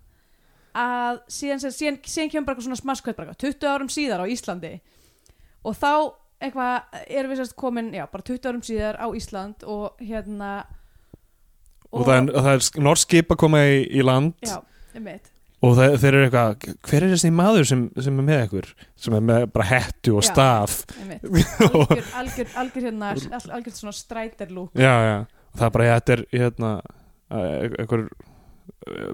að síðan, síðan, síðan, síðan kemur bara eitthvað svona smaskvætt bara eitthvað 20 árum síðar á Íslandi og þá eitthvað erum við sérst komin, já, bara 20 árum síðar á Ísland og hérna
og það er, það er sk- norsk skip að koma í, í land
já, einmitt,
og það, þeir eru eitthvað, hver er þessi maður sem, sem er með ykkur, sem er með bara hettu og
Já.
staf
(laughs)
(laughs)
einmitt
og,
algjör, algjör, algjör hérna algjör svona stræterlúk
já, já, og það er bara, þetta er hérna, eh, einhver eh,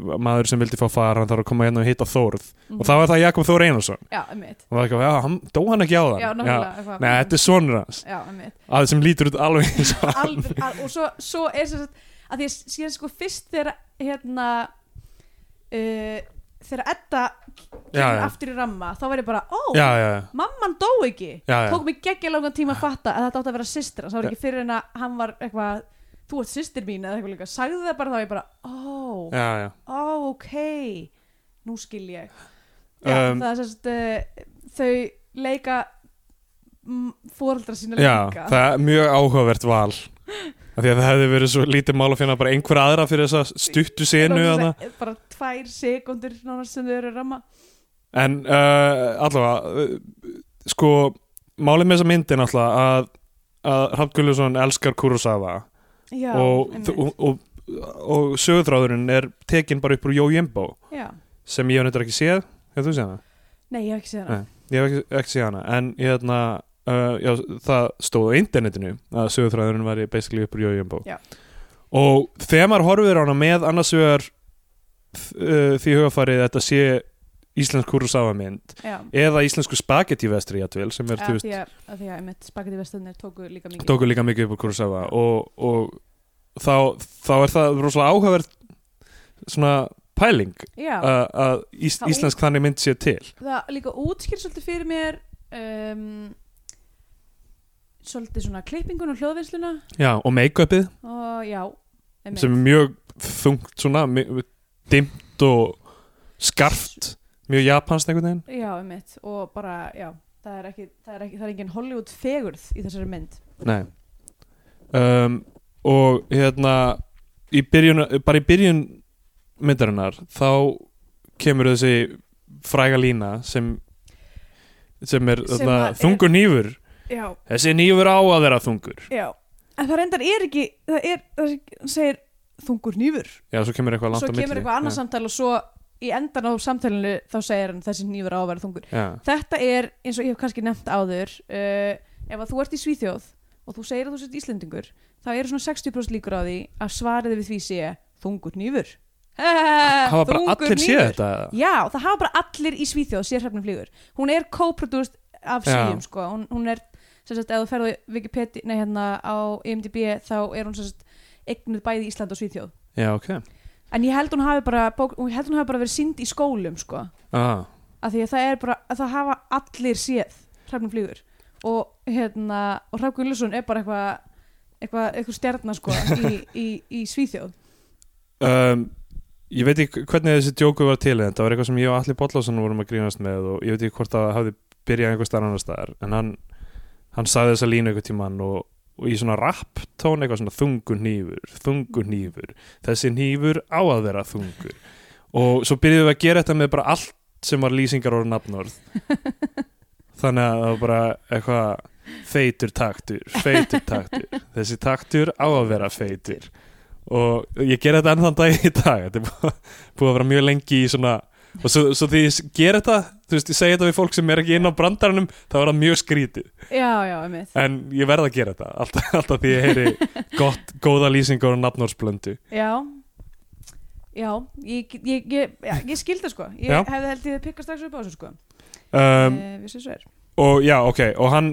maður sem vildi fá fara, hann þarf að koma hérna og hitta Þórð og
Mhm.
það var það Jakob Þór Einarsson
já, einmitt
og það er eitthvað, já, hann, dó hann ekki á þann
já, náttúrulega eitthvað-
Nei, þetta er sonur hans
já, einmitt
að sem lítur út alveg eins og hann.
alveg, al, og svo, svo er þess að að því að síðan sko fyrst þegar hérna uh, þegar Edda kemur
Já, já.
aftur í ramma þá var ég bara, ó,
Já, já, já,
mamman dó ekki
já, já.
tók mig geggja langan tíma að fatta að þetta átti að vera systra, þá var ekki fyrir en að hann var eitthvað, þú ert systir mín eða eitthvað líka, sagði það bara þá var ég bara, ó,
já, já.
ó, ok nú skil ég já,
Um,
það er sérst uh, þau leika mm, fóreldra sína
Já,
líka
það er mjög áhugavert val af því að það hefði verið svo lítið mál að finna bara einhver aðra fyrir þess að stuttu senu
Bara
hana.
þess- bara tvær sekundur nánast sem þau eru að ramma
en uh, allavega uh, sko, málið með þessa myndin alltaf að, að Hrafn Gullusson elskar Kurosawa
já,
og,
einmitt.
og, og, og sögurþráðurinn er tekin bara upp úr Jójimbo
já.
sem ég hef neitt ekki séð, hefur þú séð hana?
nei, ég hef ekki séð hana
Nei. Ég hef ekki, ekki séð hana en ég hérna uh, já, það stóð á internetinu að sögurþræðurinn væri basically uppur Jöjumbo
Já.
og þegar maður horfir á hana með annars vegar uh, því hugafarið að þetta sé íslensk kurusafa mynd
já,
eða íslensku spagetti vestri jætvel sem er, þú
að
veist,
því að, að því að einmitt spagetti vestunir tóku líka mikið
tóku líka mikið upp á kurusafa og, og þá, þá er það rosalega áhugavert svona pæling
já,
að að ís,
Það-
íslensk þannig mynd sé til
það líka útskýr svolítið fyrir mér um, svolítið svona klippingun og hljóðvinsluna
já, og make-upið
og já, einmitt
sem er mjög þungt svona mjög- dimmt og skarft mjög japanskt einhvern veginn
já, einmitt og bara, já það er ekki, það er ekki, það er engin Hollywood fegurð í þessari mynd
Nei. Um, og hérna í byrjun, bara í byrjun myndarinnar þá kemur þessi fræga lína sem sem er
Sem
þarna,
að er-
þungur nýfur
já,
þessi nýfur á að vera þungur
Já, en það reyndar er ekki það er, það er- hann segir þungur nýfur
já, svo kemur eitthvað langt
svo
á
kemur
milli.
eitthvað annað
já.
samtal og svo í endan á samtalinu þá segir hann þessi nýfur á að vera þungur
Já.
þetta er, eins og ég hef kannski nefnt áður uh, ef að þú ert í Svíþjóð og þú segir að þú sért Íslendingur þá eru svona 60% líkur á því að svarið við því sé þungur (laughs) nýfur
hafa
hafa
bara allir séð þetta
Já, það hafa bara allir í Svíþjóð sérhrefnum flýgur. Hún er co-produced af
Já.
síðum, sko. Hún, hún er, sem sagt, ef þú ferðu Wikipedia, nei, hérna á IMDb, þá er hún, sem sagt, eignuð bæði í Ísland og Svíþjóð.
já, ok
En ég held hún hafi bara, bók, hún held hún hafi bara verið sínd í skólum, sko.
ah.
Af því að það er bara, að það hafa allir séð hrefnum flýgur. Og, hérna, og Hrafgur Ljósson er bara eitthvað, eitthvað, eitthvað stjarnar, sko, í, í, í Svíþjóð.
um, ég veit ekki hvernig þessi djóku var til en það var eitthvað sem ég og Alli Bollason vorum að grínast með og ég veit ekki hvort það hafði byrjað einhver starf annar staðar en hann, hann sagði þessa línu einhver tíman og, og í svona rap tón eitthvað svona þungur nýfur, þungur nýfur þessi nýfur á að vera þungur og svo byrjuðum við að gera þetta með bara allt sem var lýsingar og nafnorð þannig að það var bara eitthvað feitur taktur, feitur taktur þessi taktur á að vera feitur og ég ger þetta ennþann dag í dag þetta er bú- búið að vera mjög lengi í svona og svo, svo því ég s- ger þetta þú veist, ég segi þetta við fólk sem er ekki inn á brandaranum þá er það mjög skrítið
Já, já, einmitt.
en ég verð að gera þetta alltaf, (laughs) alltaf því ég heyri gott, góða lýsingar og nafnórsblöndu
Já Já, ég, ég, ég, já, ég skildi sko Ég
Já.
hefði held ég að pikka strax upp á þessu sko um,
um,
Við sem svo er
og já, ok, og hann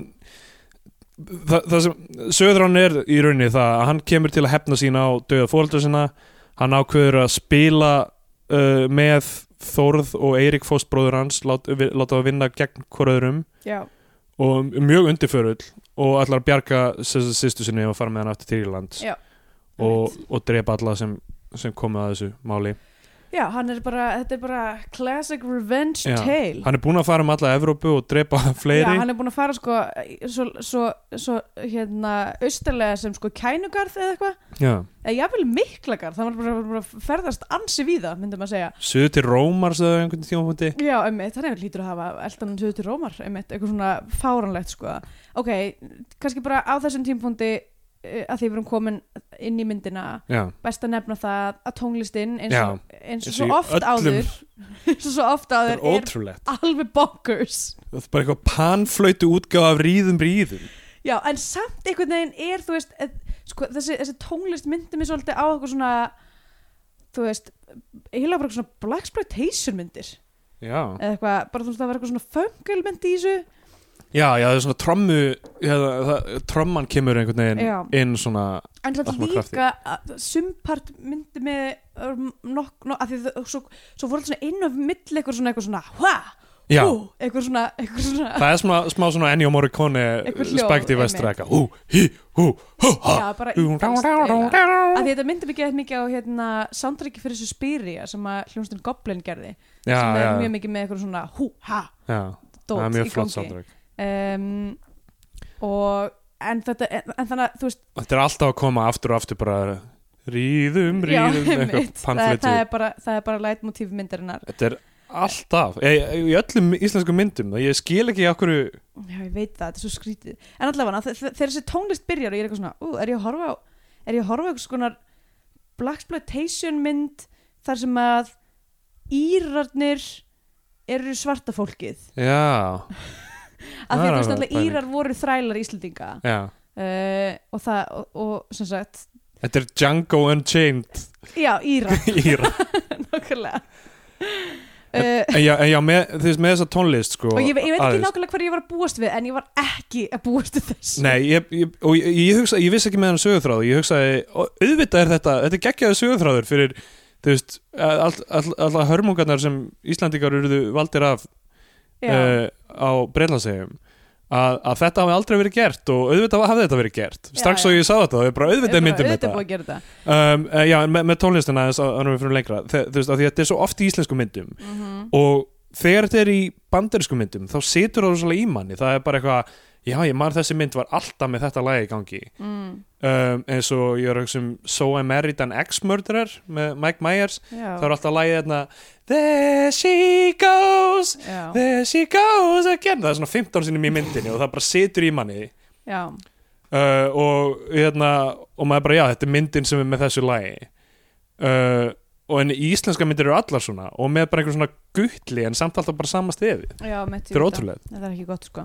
það, það sem söðrán er í rauninni það að hann kemur til að hefna sína á döða fóreldra sína hann ákveður að spila uh, með Þórð og Eirik fóstbróður hans lát, vi, láta að vinna gegn hvoraðurum
Já,
og mjög undirförull og ætlar að bjarga sýstu sinni og fara með hann aftur til Írland
Já,
og, og drepa alla sem, sem komið að þessu máli
Já, hann er bara, þetta er bara classic revenge
Já,
tale.
hann er búinn að fara um alla Evrópu og drepa
Já,
fleiri
hann er búin að fara sko svo, svo, svo hérna austarlega sem sko kænugarð eða eitthvað
já,
eða jafnvel miklagarð, það var bara, bara að ferðast ansi víða, myndum að segja
suðu til Rómar sagði á einhvern tímapunkti
Já, einmitt, hann hefur lítur að hafa eldan hann til Rómar, einmitt, eitthvað svona fáranlegt sko. Ok, kannski bara á þessum tímpúndi að því við erum komin inn í myndina
já,
best að nefna það að tónlistin eins og, eins og
eins og
svo
í
oft
öllum-
áður (laughs) eins og svo oft
það
áður
er
er,
ótrúlegt
alveg bonkers
það er bara eitthvað panflöytu útgáð af ríðum ríðum
Já, en samt einhvern veginn er, þú veist, eð, sko, þessi, þessi tónlist myndi mér svolítið á eitthvað svona, þú veist, eiginlega bara eitthvað svona blaxploitation myndir,
já,
eða eitthvað, bara þú veist, það var eitthvað svona föngal myndi í þessu.
já, já það er svona trommu já, það, það, tromman kemur einhvern veginn
Já.
inn svona,
En
Allt
samt
með krafti.
líka, að- sumpart myndi með um, nokk, nokk, að því þau, svo, svo voru alltaf svona inn og milli eitthvað svona, eitthvað svona, hva?
já
Hú, eitthvað svona, eitthvað svona,
það er smá, smá svona Ennio Morricone
Eitthvað hljóð,
spekti
einmitt.
vestræka hú, hí, hú, hú, ha
já, bara
Hú, rá,
ítalskt
rá, rá,
eiginlega.
rá.
Að því þetta myndi mikið mikið á hérna, soundtracki fyrir þessu spýrja sem að hljómsdinn Goblin gerði
já,
sem er
já,
mjög mikið með eitthvað svona hú, ha,
já
dót
það er
í
mjög flott
gangi.
soundtrack
um, og en þetta, en, en þannig að þú veist
þetta er alltaf að koma aftur og aftur bara ríðum,
já,
ríðum,
(laughs)
um eitthvað
einmitt, það,
panflöytu
það er bara, það er bara leitmotíf myndarinnar
Þetta er alltaf, e, e, í öllum íslenskum myndum, það ég skil ekki okkur,
já, ég veit það, þetta er svo skrítið en allavega, þe- þe- þegar þessi tónlist byrjar og ég er eitthvað svona, ú, er ég að horfa á er ég að horfa á eitthvað svona blaxploitation mynd þar sem að írarnir eru svarta fólkið
já,
af því
Það
að
er
þú veist
alveg
alltaf
Ah, pæling.
írar voru þrælar Íslendinga
já,
uh, og það, og, og sem sagt
þetta er Django
(laughs)
Unchained
já, írar,
íra,
nokkulega uh,
en já, en já með, þú veist, með þessa tónlist, sko,
og ég, ég veit ekki
aðeins.
nákvæmlega hvað ég var að búast við en ég var ekki að búast við þessu
Nei, ég, ég, og ég, ég, hugsa, ég vissi ekki með hann sögurþráð ég hugsaði, ó, auðvitað er þetta þetta er geggjaði sögurþráður fyrir þú veist, all, all, alla hörmungarnar sem Íslandingar eruðu valdir af
Já,
uh, á Breitlandsegjum að, að þetta hafi aldrei verið gert og auðvitað hafði þetta verið gert
Já,
strax
já.
og ég sá þetta, það er bara auðvitað
bara-
myndum
auðvitað
þetta
er búið að gera þetta
um, uh, Já, en með, með tónlistina þess að við fyrir lengra Þe, þú veist, af því að þetta er svo oft í íslensku myndum og þegar þetta er í bandersku myndum þá situr það svolítið í manni það er bara eitthvað, já, ég maður þessi mynd var alltaf með þetta lagi í gangi
mm,
um, eins og ég er að hugsa um So I Married an Ex-Murderer með Mike Myers
já,
þá er alltaf lagið þarna There she goes,
já,
there she goes again það er svona 15 sinum í myndinni og það bara situr í manni
já,
uh, og hérna og maður bara já, þetta er myndin sem er með þessu lagi uh, og en íslenska myndir eru allar svona og með bara einhver svona guttli en samt alltaf bara sama stefi
já mitt í
þetta er
þetta.
ótrúlega
Nei, það er ekki gott sko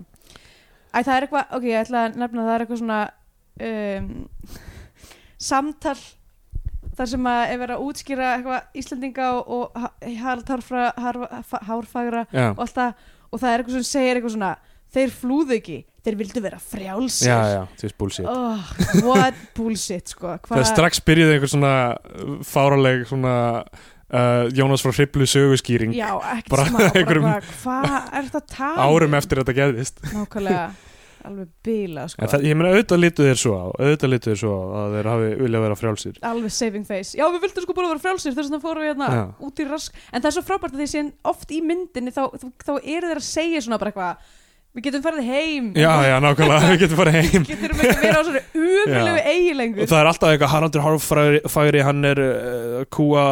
Æ, það er eitthvað, ok, ég ætla að nefna það er eitthvað svona um, (laughs) samtal þar sem að er verið að útskýra eitthvað Íslendinga og, og ha- Harald Hárfra, Harfa, Fa- Hárfagra
já.
og allt það, og það er eitthvað sem segir eitthvað svona, þeir flúðu ekki þeir vildu vera frjálsir
já, já, þú veist bullshit
oh, what (laughs) bullshit sko
það er
Hva,
strax byrjuð einhver svona uh, fáraleg svona uh, Jónas frá Hriblu söguskýring
já, ekkert
Bara
smá bara
einhverjum-
hvað hva, er þetta að tala
árum
um?
eftir þetta gerðist
nákvæmlega, alveg bila
En
sko.
það, ég meina auðvitað litu þeir svo á auðvitað litu þeir svo á að þeir hafi viljað vera frjálsir
alveg saving face, já við vildum sko bara vera frjálsir þess að það fórum við hérna
Já.
út í rask en það er svo frábært að því síðan oft í myndinni þá, þá, þá eru þeir að segja svona bara eitthvað við getum farið heim
já, já, nákvæmlega, við getum farið heim
getum ekki að vera á
(laughs)
svona umhverfilegu eigi
Og
lengur
það er alltaf eitthvað Haraldur Hárfagri, hann er uh, kúa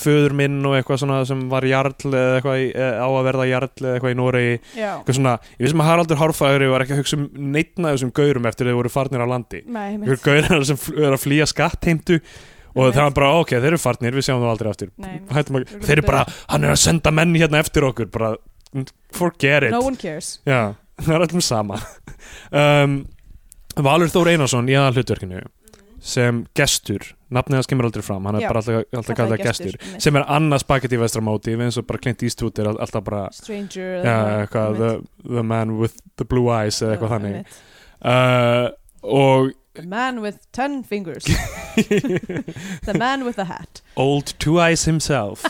föður minn og eitthvað svona sem var jarl eða eitthvað í, uh, á að verða jarl eða eitthvað í Noregi
já,
eitthvað svona, ég vissum að Haraldur Hárfagri var ekki að hugsa um neittna þessum gaurum eftir þau voru farnir á landi
með
einhver gaurar sem fl- eru að flýja skattheimtu og
Einmitt.
það er bara, ok, þeir eru farnir, við sjáum þú aldrei aftur
Nei, einmitt.
Hættum að,
Örugglega
þeir eru bara, hann er að senda menn hérna eftir okkur bara, forget it
no one cares
Já, (laughs) það er allum sama um, Valur Þór Einarsson í aðal hlutverkinu sem gestur, nafnið hans kemur aldrei fram hann er
Já,
bara alltaf, alltaf
kallaður
kallað gestur,
gestur, einmitt.
sem er annað spagetti í vestramóti eins og bara Clint Eastwood er all- alltaf bara
stranger
já,
eða
eitthvað, the, the man with the blue eyes eða eitthvað þannig
einmitt.
uh, og
The man with ten
(laughs)
fingers The man with a hat
Old Two Eyes
(laughs)
himself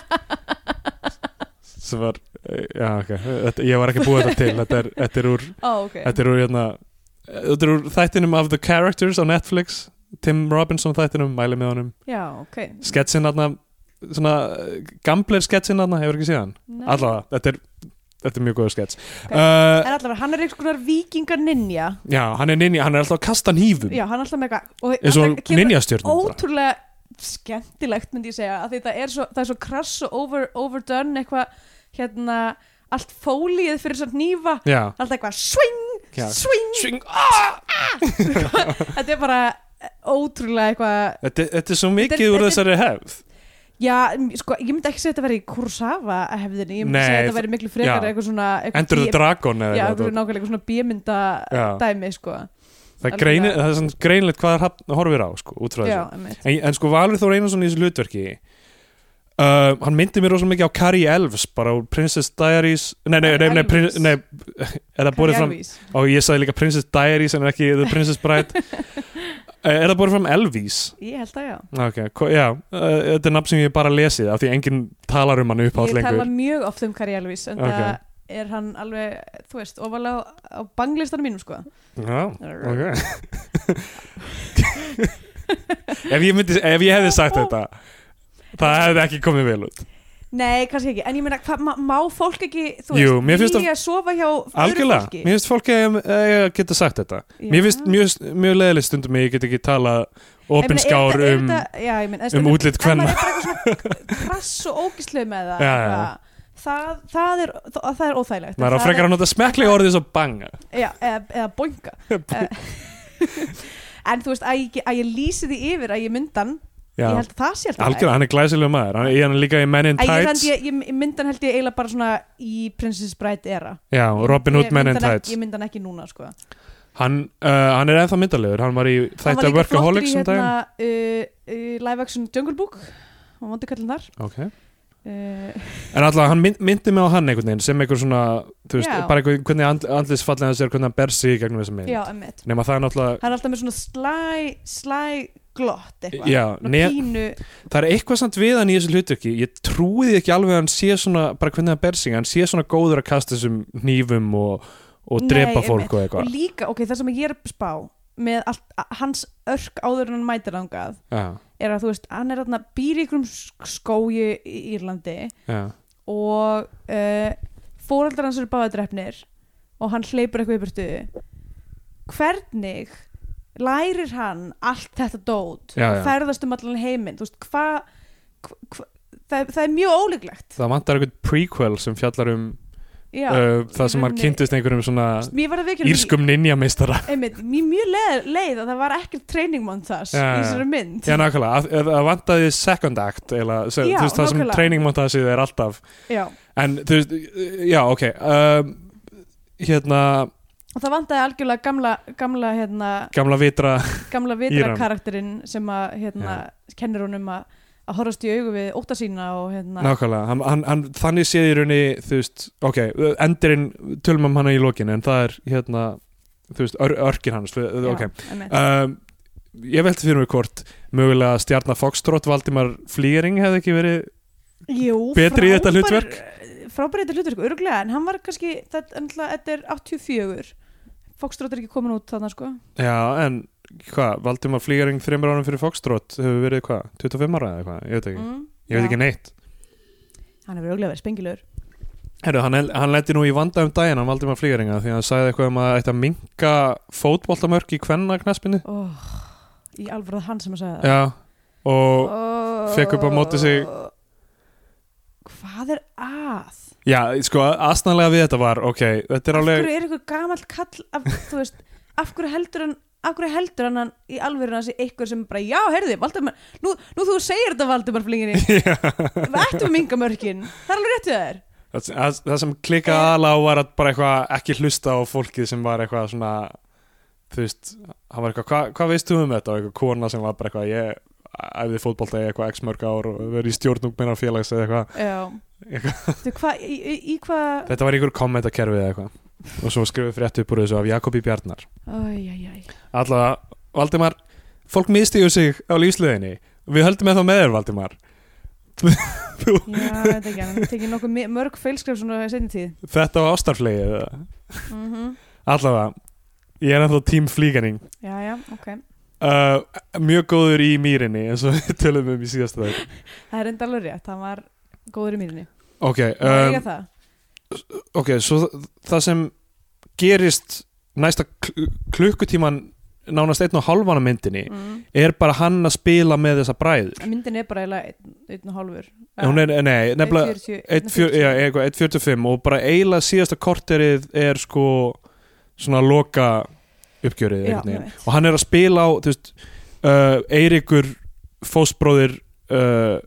sem var eh, já, ok, þetta, ég var ekki búið þetta til þetta er, þetta er úr
oh, okay.
Þetta er úr, hérna, þetta er úr þættinum of the characters á Netflix Tim Robinson þættinum, mæli með honum
Já, ok
sketsin hérna svona gambler sketsin aðna, hefur ekki séð hann allavega, þetta er, þetta er mjög góða skets uh,
En allavega, hann er einhvers konar vikingar ninja
já, hann er ninja, hann er alltaf að kasta hýfum
Já, hann er alltaf með eitthvað og
eins og
alltaf kemur
ninjastjörnum bara.
Ótrúlega skemmtilegt myndi ég segja að þetta er svo, það er svo krass og over, overdone eitthvað hérna allt fólíið fyrir svo nýfa
já,
alltaf eitthvað swing,
já.
swing
Sving,
þetta er bara ótrúlega eitthvað
þetta, þetta er svo mikið
þetta
úr
er-
þessari hefð
já, m- sko, ég myndi ekki segja þetta verið í Kurosawa hefðinni, ég myndi
Nei,
segja þetta
það-
verið miklu
já.
frekar eitthvað svona eitthvað
Endur the
B-
Dragon
já,
eða eitthvað,
eitthvað nákvæmlega eitthvað svona bímynda
Já.
dæmi, sko
það,
alveg-
er greinir, það er svona greinlegt hvað það horfir á sko, út frá
já,
þessu
einmitt.
en, en sko Valur Þór Einarsson í þessu hlutverki uh, hann myndi mér rosa mikið á Carrie Elves bara úr Princess Diaries nei, nei, nei,
Carrie
nei, prin,
Elves.
nei er það borið fram
Elvis.
og ég sagði líka Princess Diaries en ekki The Princess
(laughs)
Bride Eh, er það borið fram Elvis
ég held að já
ok, ko- já, uh, þetta er nafn sem ég bara lesið af því enginn talar um hann upp átt
Ég tala
lengur
mjög oft um Kari Elvis en
Ok.
það er hann alveg, þú veist, ofalega á, á banglistanum mínum sko
já, ok (laughs) ef ég myndi, ef ég hefði sagt þetta það hefði ekki komið vel út
Nei, kannski ekki, en ég meina, hva, ma, má fólk ekki, þú
Jú, mér
veist,
finnst
vilja að sofa hjá öðru
algjörlega,
fólki
mér finnst fólki að að geta sagt þetta mér finnst mjög, mjög leðileg stundum að ég get ekki tala opinskár um,
já, ég meina,
um útlit
En
hvenna
maður er bara eitthvað svona krass og ógislu með það
Já, já.
eitthvað, Það, það, er, það, það er óþægilegt
maður er
Það
að frekar að nota smekklega orðið svo banga
Já, eða, eða
(laughs)
boinga Eh, (laughs) En þú veist, að ég, að ég lýsi því yfir að ég myndan
já,
Ég held að það sé alltaf
algjörlega, hann er glæsilega maður hann, ég hann er líka í Men in
Æ, ég, held,
Tights
ég, ég, ég myndan held ég eiginlega bara svona í Princess Bride era
já, Robin
Ég
Hood Men in
myndi hann ekki-
Tights
Ég myndan ekki núna sko
hann, uh, hann er ennþá myndalegur hann var í
Hann var líka
þætti að workaholics um
flottur í,
daginn
hérna, uh, uh, Live action Jungle Book og vondi kallin þar
ok
uh,
En alltaf, hann mynd, myndi mig á hann einhvern veginn sem einhver svona, þú veist,
Já.
bara einhvern, hvernig and, andlisfallin hans er, hvernig hann ber sig í gegnum þessa mynd.
Já, emmitt
Nefna það er náttúrulega,
Hann er alltaf með svona slæ, slæ glott eitthvað
já,
Svona
ne,
pínu,
það er eitthvað samt við hann í þessu hlutverki, ég trúið ekki alveg að hann sé svona, bara hvernig hann ber sig, hann sé svona góður að kasta þessum hnífum og, og
Nei,
drepa fólk
einmitt.
og
og
eitthvað.
líka, ok, það sem ég er að spá með allt, a- hans örk áður en hann mætir angað
Já,
er að þú veist, hann er þarna býr í ykkur skói í Írlandi
já,
og uh, fóreldrar hans eru báðadrefnir og hann hleypur eitthvað í burtu hvernig lærir hann allt þetta dót
Já, já.
og ferðast um allan heiminn þú veist, hva, hva, hva það, það er mjög ólíklegt
það vantar einhvern prequel sem fjallar um
Já,
uh,
í
það sem hann
rauninni-
kynntist einhverjum svona
mér var það vekjum
írskum
(laughs)
ninjameistara.
einmitt, mér mjög leið, leið að það var ekkert training montage
Já,
í
já.
þessari mynd
Já, nákvæmlega, að- að- það vantaði second act, eða, sem,
Já,
þú veist, það sem
nákvæmlega.
training montasið er alltaf
Já.
En þú veist, já, ok um, Hérna,
og það vantaði algjörlega gamla gamla, hérna,
gamla vitra
gamla
Íran.
vitra karakterinn sem að hérna, kennir hún um að, að horfast í augu við óta sína og hérna
Nákvæmlega, hann, hann, hann, þannig séð í raunni Þú veist, ok, endurinn Tölum um hana í lokin, en það er hérna Þú veist, ör, örkin hans þú-
Já,
Ok,
einmitt.
um, ég velti fyrir mig hvort Mögulega stjarnar Foxtrot Valdimar Flýring hefði ekki verið
Jú,
betri í þetta
frábær-
hlutverk?
frábær í þetta hlutverk, örgulega en hann var kannski, þetta er náttúrulega- þetta er 84 Fokstrótt er ekki komin út þarna sko
Já, en hvað, Valdimar Flýring Þreymur árum fyrir Foxtrot hefur verið hvað 25 ára eða hvað, ég veit ekki
mm,
Ég veit ekki neitt
Hann hefur örgulega verið spengilegur
Herru, hann, hann lendi nú í vanda um daginn hann Valdimar Flýringa því að hann sagði eitthvað um að ætti að minka fótboltamörk í kvenna knaspinu
oh, Í alvörða hann sem að segja það
Já, og
oh,
fékk upp á móti sig-
Hvað er að?
já, sko, aðstæðanlega við þetta var ok, þetta er
Af
alveg
hverju er eitthvað gamall kall af, þú veist, af hverju heldur hann af hverju heldur hann hann í alvöruna þessi eitthvað sem bara, já, heyrði, Valdimar nú, nú þú segir þetta Valdimar flinginni
(laughs) Já,
við ættum að minga mörkin, það er alveg rétt við þér
það, sem- það- það sem
Eh.
klikkaði aðla á var að bara eitthvað ekki hlusta á fólkið sem var eitthvað svona þú veist, hann var eitthvað, hvað hva veist þú um þetta og eitthvað kona sem var bara eitthvað ég æfði fótbolta í eitthvað x mörg ár og verið í stjórnungmennar félags eða eitthvað
Já Þú, hva, í, í, í hvað
þetta var einhver kommentakerfið eða eitthvað og svo skrifuð frétt upp úr þessu af Jakobi Bjarnar
Æjæjæj
Allavega, Valdimar Fólk mistiðu sig á lífsliðinni Við höldum eða þá með þér, Valdimar
Já, þetta ekki, hann tekið nokkuð mi- mörg feilskref svona í seinni tíð
Þetta var ástarflegið
mm -hmm.
Allavega, ég er ennþá tím flíganing
Já, já, ok
uh, mjög góður í mýrinni eins og (laughs) við tölum um í síðasta þætti
Það er enda alveg rétt, það var góður í mýrinni.
ok,
Það
um,
eiga það.
ok, svo þa- það sem gerist næsta kl klukkutíman nánast einn og halvana myndinni
Mm.
er bara hann að spila með þessa bræður
Myndin er bara eiginlega einn- einn og hálfur.
hún er, nei, nefnilega
1.40,
1.40, já,
1.40.
eitthvað, 1.45 og bara eiginlega síðasta korterið er sko svona loka uppgjörið
Já,
einhvern veginn.
einmitt.
og hann er að spila á þú veist, uh, Eiríkur fósbróðir uh,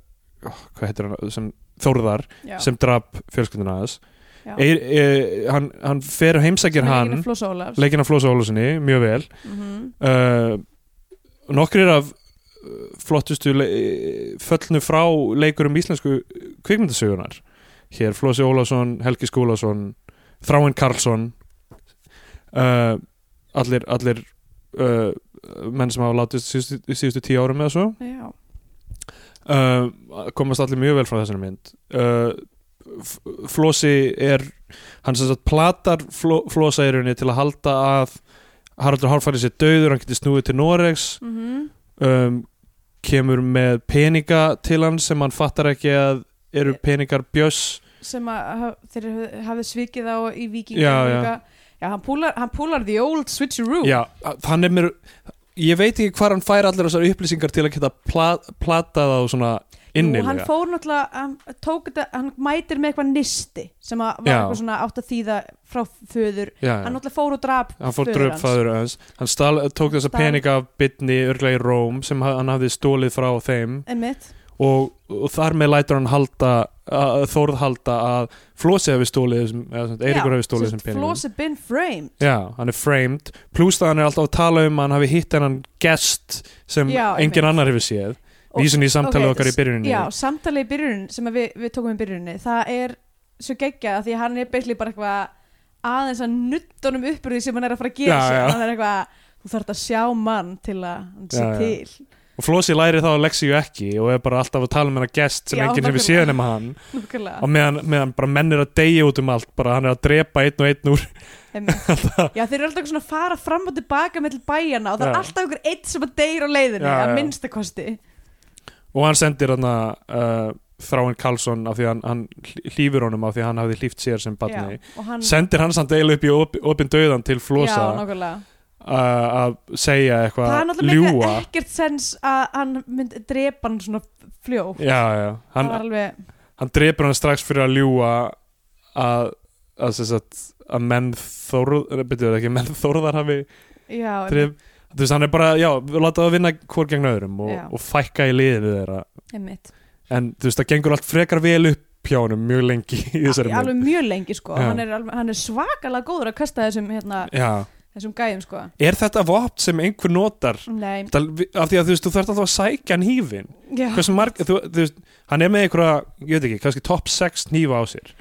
hvað heitir hann sem Þórðar
Já.
sem drap fjölskylduna aðeins
Já.
Eir, e, hann, hann fer og heimsækir
Sem er
hann
leikinn af Flosa Ólafs.
leikinn af Flósa Ólusinni, mjög vel
Mhm.
uh, nokkrir af uh, flottustu le- föllnu frá leikurum íslensku kvikmyndasögunar hér Flósi Ólafsson, Helgi Skúlason Þráin Karlsson uh, allir, allir uh, menn sem hafa látist síðustu, síðustu tíu árum eða svo
Já.
uh, komast allir mjög vel frá þessari mynd uh, F- Flósi er hann sem sagt platar fló, Flósa í rauninni til að halda að Haraldur Hárfæri sér döður, hann getur snúið til Noregs
Mhm.
um, kemur með peninga til hann sem hann fattar ekki að eru peningar bjöss
sem að haf- þeir höfðu- hafðu svikið á í vikingum
Já, já.
já hann, púlar, hann púlar the old switcheroo
Já, hann er mér ég veit ekki hvar hann fær allir þessar upplýsingar til að geta pla, plata það svona
Jú, hann
innilega
fór náttúrulega hann, tók, þetta- hann mætir með eitthvað nisti sem að var
Já.
eitthvað svona átt að þýða frá föður
já,
hann
já.
náttúrulega fór og drap
hann fór
föður
dröp
hans.
fæður hans hann stal, tók þessa
Stal.
peninga af bytni örglega í Róm sem ha- hann hafði stólið frá þeim
einmitt
og, og þar með lætur hann halda að, þórð halda að Flósi hefði stólið þessum- eða sem sagt, Eiríkur
Já,
hefði stólið
sem
þessum
sagt,
peningum
Flosi been framed
Já, hann er framed pluss það hann er alltaf að tala um að hann hafi hitt hennan gest sem
Já,
engin
einmitt.
annar hefur séð
Og-
vísun í samtalið
ok,
okkar í byrjuninni
já, samtalið í byrjun sem að við, við tókum í byrjunni það er svo geggjað af því að hann er byrjli bara eitthvað aðeins að nutta honum uppurði sem hann er að fara að gera
Já,
sér
já.
hann er eitthvað, þú þarf að sjá mann til að hann sé
Já, já.
til (laughs)
og Flósi læri þá að leksíu ekki og er bara alltaf að tala um hennan gest sem
Já,
enginn hefur
nákvæmlega.
séð nema hann
Nákvæmlega
og meðan, meðan bara menn er að deyja út um allt bara hann er að drepa einn og einn úr (laughs)
einmitt. Já þeir eru alltaf svona að fara fram og tilbaka með bæjana og það er
Já.
alltaf ykkur eitt sem að deyra á leiðinni
Já,
að
já.
minnsta kosti
og hann sendir hann uh, þráin Karlsson af því að hann, hann hlýfur honum af því að hann hafði hlýft sér sem
Já,
batni
og hann
sendir hann samt eiginlega upp í op, opin döðan til Flósa
Já,
uh,
nákvæmlega
að
Það
segja
er
eitthvað
náttúrulega
ljúa
mikið ekkert sens að hann myndi drepa hann svona fljó
já, já,
Það
hann,
var alveg
hann drepur hann strax fyrir að ljúa að, að, sem sagt, að menn þórðar betur það ekki, menn þórðar hafi
Já, einmitt,
drep, þú veist, hann er bara, já, láta það vinna hvort gegn öðrum og,
Já.
og fækka í liðinu þeirra
einmitt.
en þú veist, það gengur allt frekar vel upp hjá honum mjög lengi í þessari mynd
alveg mjög lengi sko
Já.
hann er, alveg, hann er svakalega góður að kasta þessum, hérna,
já,
þessum gæðum sko
er þetta vopn sem einhver notar
Nei,
Það, af því að þú veist, þú þarft alltaf að sækja hann hífin
já,
hversu marg, þú, þú veist, hann er með einhverja ég veit ekki, kannski top 6 hnífa á sér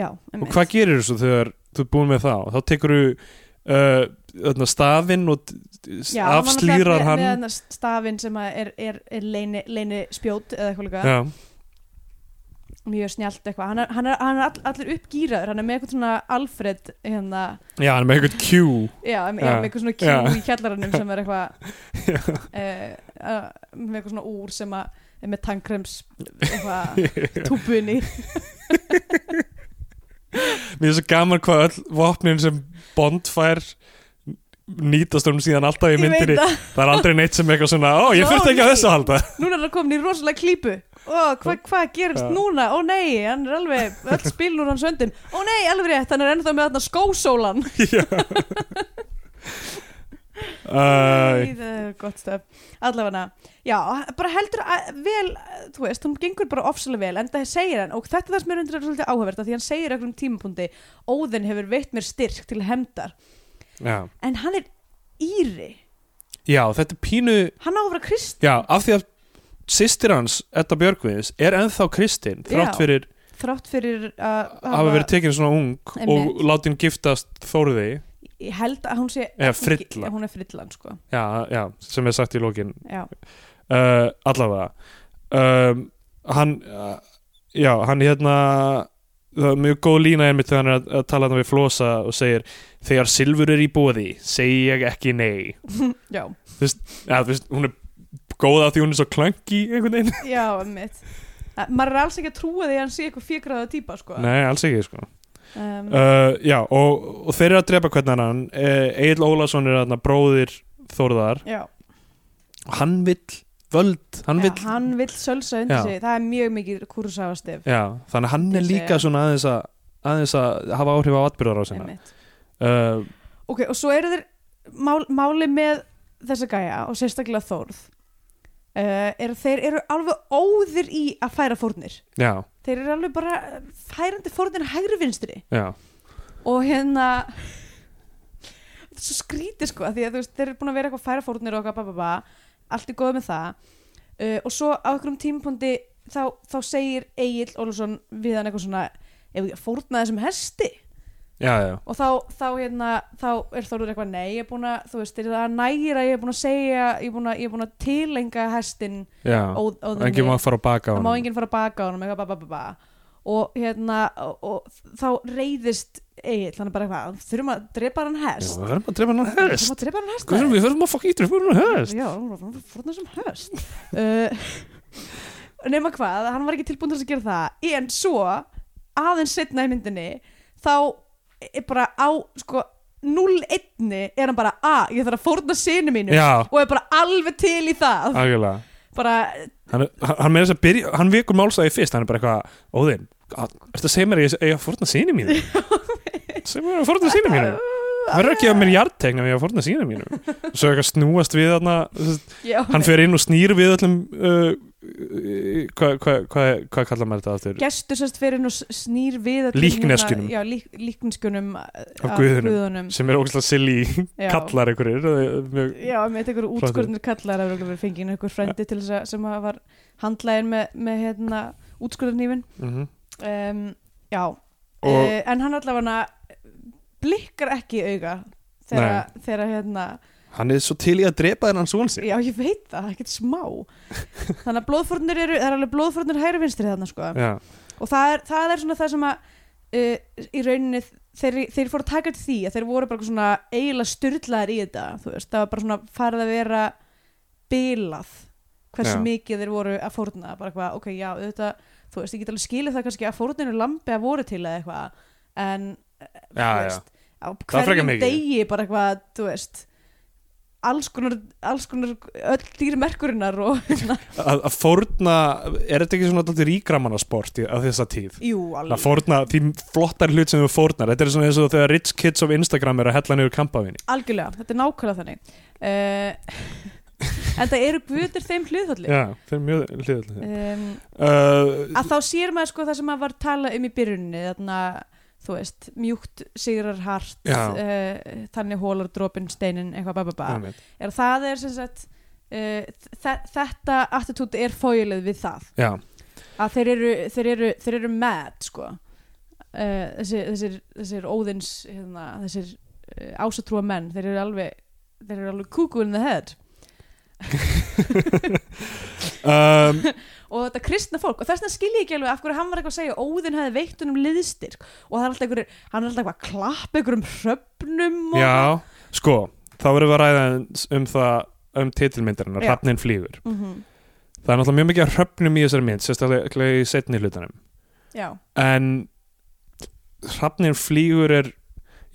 já
og hvað gerir þú þegar þú er búin með þá? Þá tekur þú uh, stafinn og d- d-
Já, hann var
afslýrar
náttúrulega
hann
með, með þarna stafinn sem að er, er, er leini, leini spjót eða eitthvað líka
já,
mjög snjált eitthvað hann er, hann er, hann er all, allir uppgýraður, hann er með eitthvað svona Alfred hérna,
já, hann er með einhvern Q
já, em- já,
Já.
með eitthvað svona kjú
Já.
í kjallarannum sem er
(laughs)
eitthvað uh, uh, með eitthvað svona úr sem að er með tankrems
(laughs)
eitthvað túbunni
Mér er svo gaman hvað öll vopnin sem Bond fær nýtast um síðan alltaf í
ég veit
myndinni
það,
það er aldrei neitt sem eitthvað svona ó, ég
Ó,
þurfti ekki að
nei."
þessu að halda (laughs)
núna er hann komin í rosalega klípu Ó, hva, hvað gerist
Já.
núna, ó nei hann er alveg, öll spilur hans höndum ó nei, alveg rétt, hann er ennþá með þarna skósólan
Já. Æ,
Æ, það er gott stöf allavega, já, bara heldur að, vel, þú veist, hún gengur bara ofsalega vel, en það segir hann, og þetta er það sem er undir er svolítið áhverð, því hann segir okkur um tímapunkti Óðinn hefur veitt mér styrk til hemdar
já.
en hann er íri
já, þetta er pínu
hann á að vera krist
já, af því að sýstir hans, Edda Björgvins er ennþá kristinn,
Já.
þrátt fyrir
þrátt fyrir að
hafa verið tekin svona ung
Einmitt.
og látin giftast Þórði
ég held að hún sé
Eða
ekki-
frilla.
hún er frillan, sko
já, já, sem er sagt í lokin
já,
uh, allavega um, hann uh, já, hann hérna það er mjög góð lína einmitt þegar hann er að, að tala þannig við Flosa og segir þegar silfur er í bóði segi ég ekki nei
já,
ja, þú veist, hún er góð af því hún er svo klanki einhvern (laughs) veginn
já, mitt maður er alls ekki að trúa því að hann sé eitthvað fjögraða típa sko.
nei, alls ekki sko
um,
uh, já, og, og þeir eru að drepa hvernig hann uh, Egil Ólason er þarna bróðir Þórðar
já,
og hann vill völd hann
já,
vill,
hann vill sölsa undir
Já.
sig það er mjög mikið kursafastif
já, þannig að hann er
Ég segi
líka
það.
svona aðeins að aðeins að hafa áhrif á atbyrðar á sinna uh,
ok, og svo eru þeir mál, máli með þessa gæja og sérstaklega Þórð uh, er, að þeir eru alveg óðir í að færa fórnir
já,
þeir eru alveg bara færandi fórnir hægri vinstri
já,
og hérna þetta er svo skrítið sko af því að þú veist, þeir eru búin að vera eitthvað að færa fórnir og eitthvað, ba, ba, ba, allt er góð með það uh, og svo á einhverjum tímapunkti þá, þá segir Egil Ólfsson við hann eitthvað svona ef ég fórna þessum hesti
já, já
og þá, þá, hérna, þá er Þórður eitthvað nei, ég er búin að, þú veist, er það nægir að ég er búin að segja, ég er búin að, ég er búin að tilenga hestin
já,
óð, óðinni
enginn má fara á baka á
það má
hann
enginn fara að baka honum eitthvað, ba, ba, ba, ba og hérna, og, og þá reyðist Egil, hann er bara eitthvað, þurfum að drepa hann
við
hest
verðum að drepa hann
þurfum
hest
að drepa hann hest
Guðrún,
maður.
við verðum að fokk ítur, við verðum að höst
já, hún var- hún var fórna sem höst uh, (laughs) nema hvað, hann var ekki tilbúin til þess að gera það en svo, aðeins setna í myndinni þá er bara á sko, 0-1 er hann bara, a, ég þarf að fórna sinu mínu
Já.
og er bara alveg til í það
Algjörlega
bara,
Hann, er- hann, hann, meira þess að byrja, hann vekur málstæði fyrst Hann er bara eitthvað, óðinn Ertu að segja mér að ég eigi að fórna
(laughs)
síni mínu? Segja mér að fórna síni mínu Verður ekki að gefa mér hjartegna ef ég að fórna síni mínu Svo eitthvað snúast við þarna þú veist,
já,
Hann fer inn og snýr við öllum uh, uh, Hvað hva, hva, hva kallar maður þetta aftur?
gestur sérst fyrir hann og s- snýr við öllum
Líkneskjunum.
hérna- já, lík, líkneskunum af
guðunum.
guðunum.
Sem er ógæslega silly (laughs)
Já.
kallar einhverjir eh, mjög-
Já, með eitthvað útskurðnir kallar að verður fengið einhver frendi til þess að sem að var handlæðin með, með hérna, útskurðarnýfin
Mhm.
um, Já,
Og-
uh, en hann allavega blikkar ekki í auga þegar, þegar hérna,
Hann er svo til í að drepa þennan svon sig
já ég veit það, ekkert smá Þannig að blóðfórnir eru, það er alveg blóðfórnir hægri vinstri þarna sko
Já,
og það er, það er svona það sem að uh, í rauninni þeir, þeir fóru að taka til því að þeir voru bara eitthvað svona eiginlega styrlaðir í þetta þú veist, það var bara svona farið að vera bilað hversu
Já.
mikið þeir voru að fórna bara eitthvað, ok, já, auðvitað, þú veist, ég get alveg skilið það kannski að fórninu lambi að voru til eða eitthvað en,
já,
þú
já.
veist, á
er frekar
hverjum
mikið.
degi bara eitthvað, þú veist alls konar, alls konar öll dýrmerkurinnar og (laughs)
Að, að fórna Er þetta ekki svona dálítið ríkramannasport í- á þessa tíð?
jú,
að
alveg,
fórna, því flottar hlut sem þú fórnar þetta er svona eins og þegar rich kids of Instagram eru að hella niður kampafinni
algjörlega, þetta er nákvæmlega þannig uh, (laughs) en það eru gutir þeim hliðhalli
já, þeir eru mjög hliðallega
um,
uh,
að þá sér maður sko það sem maður var að tala um í byrjunni þarna, þú veist, mjúkt sigrar hart
Já.
uh, þannig hólar dropin steinin eitthvað ba ba ba
einmitt.
er það er sem sagt Uh, þe- þetta attitút er fóilið við það
já,
að þeir eru, þeir eru, þeir eru mad sko uh, þessir, þessir, þessir óðins hérna, þessir uh, ásatrúa menn þeir eru alveg þeir eru alveg cuckoo in the head
um,
og þetta kristna fólk og þess vegna skil ég ekki alveg af hverju hann var eitthvað að segja að Óðinn hefði veitt honum liðstyrk og það er alltaf einhver, hann er alltaf eitthvað að klappa einhverjum hröfnum og
já, sko þá verðum við að ræða aðeins um það um titilmyndarinn,
Já.
Hrafnin flýgur
mm
það er náttúrulega mjög mikið að hröfnum í þessari mynd sérstaklega í setni hlutanum
já,
en Hrafnin flýgur er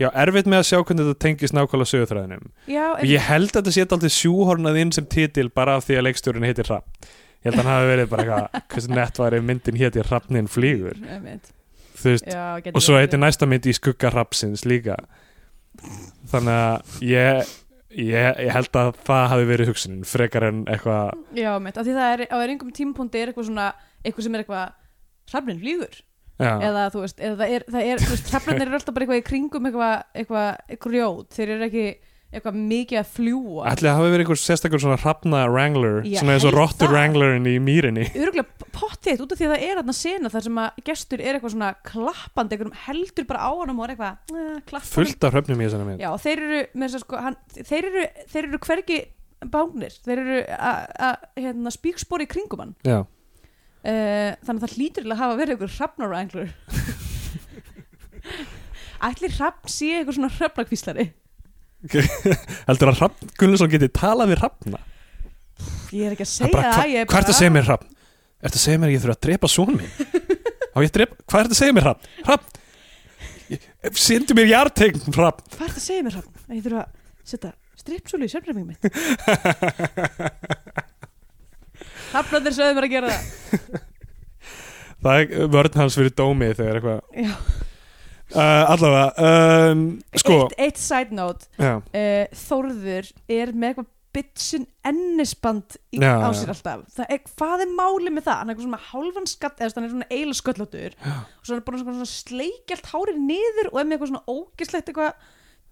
já, erfitt með að sjá hvernig þetta tengist nákvæmlega sögutræðinum
já,
Og ég held að þetta sé aldrei sjúhornað inn sem titil bara af því að leikstjórin heitir Hrapp ég held að hann hafi verið bara eitthvað (laughs) hversu nett var ef myndin héti Hrappnin flýgur
einmitt.
þú veist,
Já, getur
og svo
verið.
heitir næsta mynd í skugga Hrappsins líka þannig að ég, ég, ég held að það hafi verið hugsunin frekar en eitthvað
já, mitt, af því það er á einhverjum tímpúndi er eitthvað svona eitthvað sem er eitthvað hröfnin flýgur
já,
eða þú veist, eða það er, það er þú veist, hrefnarnir eru alltaf bara eitthvað í kringum eitthvað, eitthvað, eitthvað rjóð, þeir eru ekki eitthvað mikið að fljúa
ætli að hafi verið einhver sérstakur svona Hrappna Wrangler
Ég
svona eins og
held
Rottur
það.
Wranglerinn í mýrinni
öruglega pottitt út af því að það er þarna sena þar sem að gestur er eitthvað svona klappandi eitthvað heldur bara á honum og er eitthvað eh, klappandi,
fullt af Hrappnum í þessari mynd
já, þeir eru með þess að sko, hann, þeir eru, þeir eru hvergi bánir, þeir eru að- að hérna, spíkspori í kringum hann Eh,
já. (laughs)
uh, þannig að það hlýtur eiginlega að hafa verið einhver hrefnarangler Ætli hrapp sé eitthvað svona hraplakvíslari
heldur að Hrafn Gunnlaugsson geti talað við Hrafna
Ég er ekki að
Það er
segja það, ég
hva,
er
hvað ertu að segja mér Hrafn? ertu að segja mér að ég þurfa að drepa són
(laughs)
minn? á ég að drepa, hvað ertu að segja mér Hrafn? Hrafn ég- sýndu mér jartegn Hrafn
Hvað ertu að segja mér hrapp? Ég þurfa að setja stripsúlu í sömrömming
(laughs)
mitt Hrafnarnir sögðu mér að gera það
það er eh, vörn hans fyrir dómi þegar eitthvað
Já.
uh, allavega um, sko
eitt, eitt side note
já,
uh, Þórður er með eitthvað bitchin ennisband í,
Já,
á
já.
sér alltaf það er, hvað er málið með það? hann er eitthvað svona hálfan skatt eða þú veist, hann er svona eiginlega sköllóttur og svo er hann bara svona, svona sleikjalt hárið niður og er með eitthvað svona ógislegt eitthvað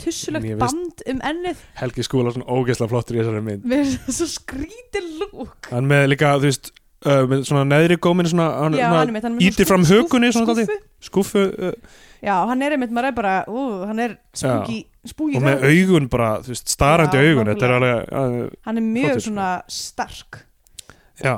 tussulegt
Mér finnst-
band um ennið
Helgi Skúlason ógeðslega flottur í þessari mynd
með svo skrítið lúk
hann með líka þú veist uh, með svona neðri gómin svona, hann,
Já, hann er
svona
með- hann er með svona
ítir fram
skúff-
hökunni svona
skúffu.
dálítið. skúffu uh,
já, hann er einmitt, maður er bara, ú, hann er spúki, spúki
og með augun bara þú veist, starandi
Já,
augun þetta er alveg uh,
hann er mjög
flottur, sko.
svona stark
já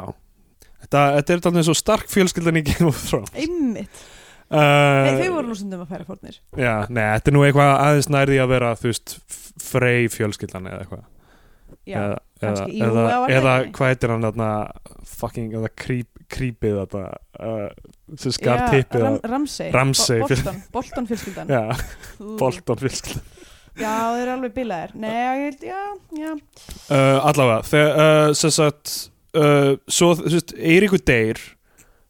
Þetta, þetta er talveg svo stark fjölskyldan í Game of Thrones
einmitt,
uh,
nei, þau voru nú stundum að færa fórnir
Já, nei, þetta er nú eitthvað aðeins nærði að vera þú veist, frey fjölskyldan eða eitthvað
já,
eða, eða,
kannski. Jú,
eða,
það var
eða
það ekki.
hvað heitir hann þarna fucking eða creep, creepið þarna uh, sem skar
já,
tippið
Ram,
á-
Ramsey,
Ramsey.
Bo- Bolton, Bolton fjölskyldan
(laughs) Já,
Ú.
Bolton fjölskyldan
Já, þeir eru alveg bilaðir Nei, ég held, já, já
uh, Allavega, þegar uh, sem sagt uh, svo, þú veist, Eiríku deyr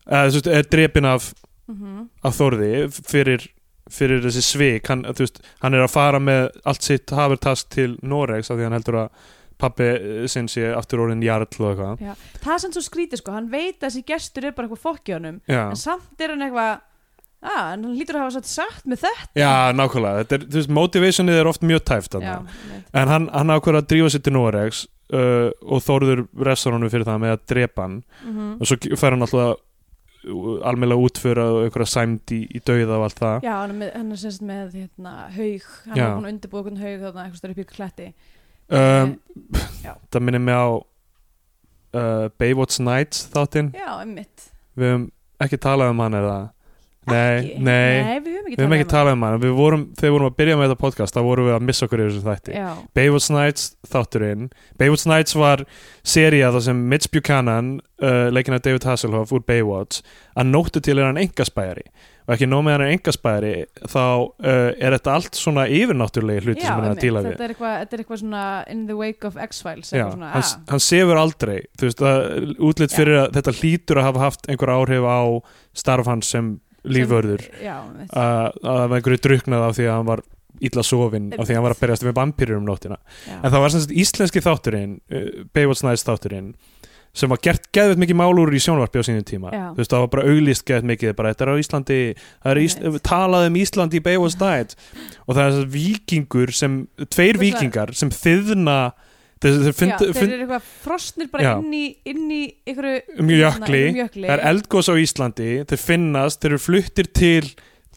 eða, þú veist, er drepin af,
Mhm.
af Þórði fyrir, fyrir þessi svik hann, þú veist, hann er að fara með allt sitt hafertask til Noregs af því hann heldur að pappi eh, sinn sé aftur orðin jarl og eitthvað
Það er sem svo skrítið sko, hann veit að þessi gestur er bara eitthvað fokki á honum
Já.
En samt er hann eitthvað ah, en hann lítur að hafa satt sagt með þetta
Já, nákvæmlega, þetta er, þú veist, motivationið er oft mjög tæft þarna.
Já, einmitt.
en hann, hann ákveður að drífa sér til Noregs uh, og Þórður refsar honum fyrir það með að drepa hann
Mhm.
og svo fer hann alltaf almennlega útföra og einhverja sæmd í, í dauða og allt það
já hann er, með- hann er semst með hérna, haug Hann
Já.
er búin að undirbúa einhvern haug þarna eitthvað stöður upp í kletti
um,
Já.
það minnir mig á uh, Baywatch Nights þáttinn
Já, einmitt
við höfum ekki talað um hann er það nei,
Ekki.
nei,
nei, við höfum ekki
við höfum ekki
talað
talað um hann við vorum, þegar við vorum að byrja með þetta podcast þá vorum við að missa okkur í þessum
um
þætti
hann. Já,
Baywatch Nights þátturinn Baywatch Nights var seria þar sem Mitch Buchanan, uh, leikinn af David Hasselhoff úr Baywatch, að nóttu til er hann engaspæri og ekki nóg með hann er engaspæri þá uh, er þetta allt svona yfirnáttúrulegi hluti
já
sem hann er
einmitt
að díla við
þetta, er eitthvað, þetta er eitthvað svona in the wake of X-Files
Já,
eitthvað svona,
hann,
ah.
hann sefur aldrei þú veist, að, útlit
Já.
fyrir að þetta hlýtur að hafa haft einhver áhrif á starf hans sem lífvörður Ah,
Já, einmitt
að að það var einhverju druknað af því að hann var illa sofin af því að hann var að berjast við vampýrur um nóttina
já.
en það var sem sagt íslenski þátturinn uh, Baywatch Nights þátturinn sem var gert geðveit mikið mál úr í sjónvarpi á sínum tíma
Já.
þú veist það var bara auglýst geðveit mikið bara þetta er á Íslandi, það er Ís
Einmitt.
talað um Íslandi í Baywatch Nights og það er þess vikingur sem, tveir
Þessar-
vikingar sem þyðna þeir,
Fund,
þeir fund,
já, þeir
fund,
eru eitthvað frosnir bara
Já.
inn í, inn í einhverju
um jökli,
um jökli.
það er eldgós á Íslandi þeir finnast, þeir eru fluttir til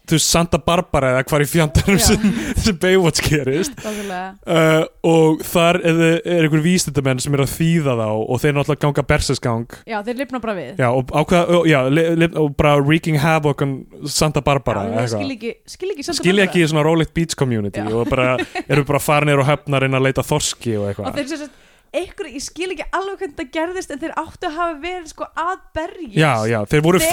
þú veist Santa Barbara eða hvar í fjandarum
Já.
sem, sem Baywatch gerist
Nákvæmlega.
Uh, og þar er, er einhver vísindamenn sem er að þýða þá og þeir náttúrulega ganga bersesgang
Já, þeir lifna bara við
já, og, ákveða, og, já, li, li, og bara wreaking havoc on Santa Barbara
Já,
eða
þeir
eitthvað.
skilja ekki, skilja ekki, Santa
skilja
Barbara.
ekki í svona rólegt beach community
Já.
og
(laughs)
bara, eru bara farinir og höfnar inn að leita þorski og
og
eitthvað
þeir sem sagt, einhverju, ég skil ekki alveg hvernig það gerðist en þeir áttu að hafa verið sko að berjast
já, já, þeir voru
Þegar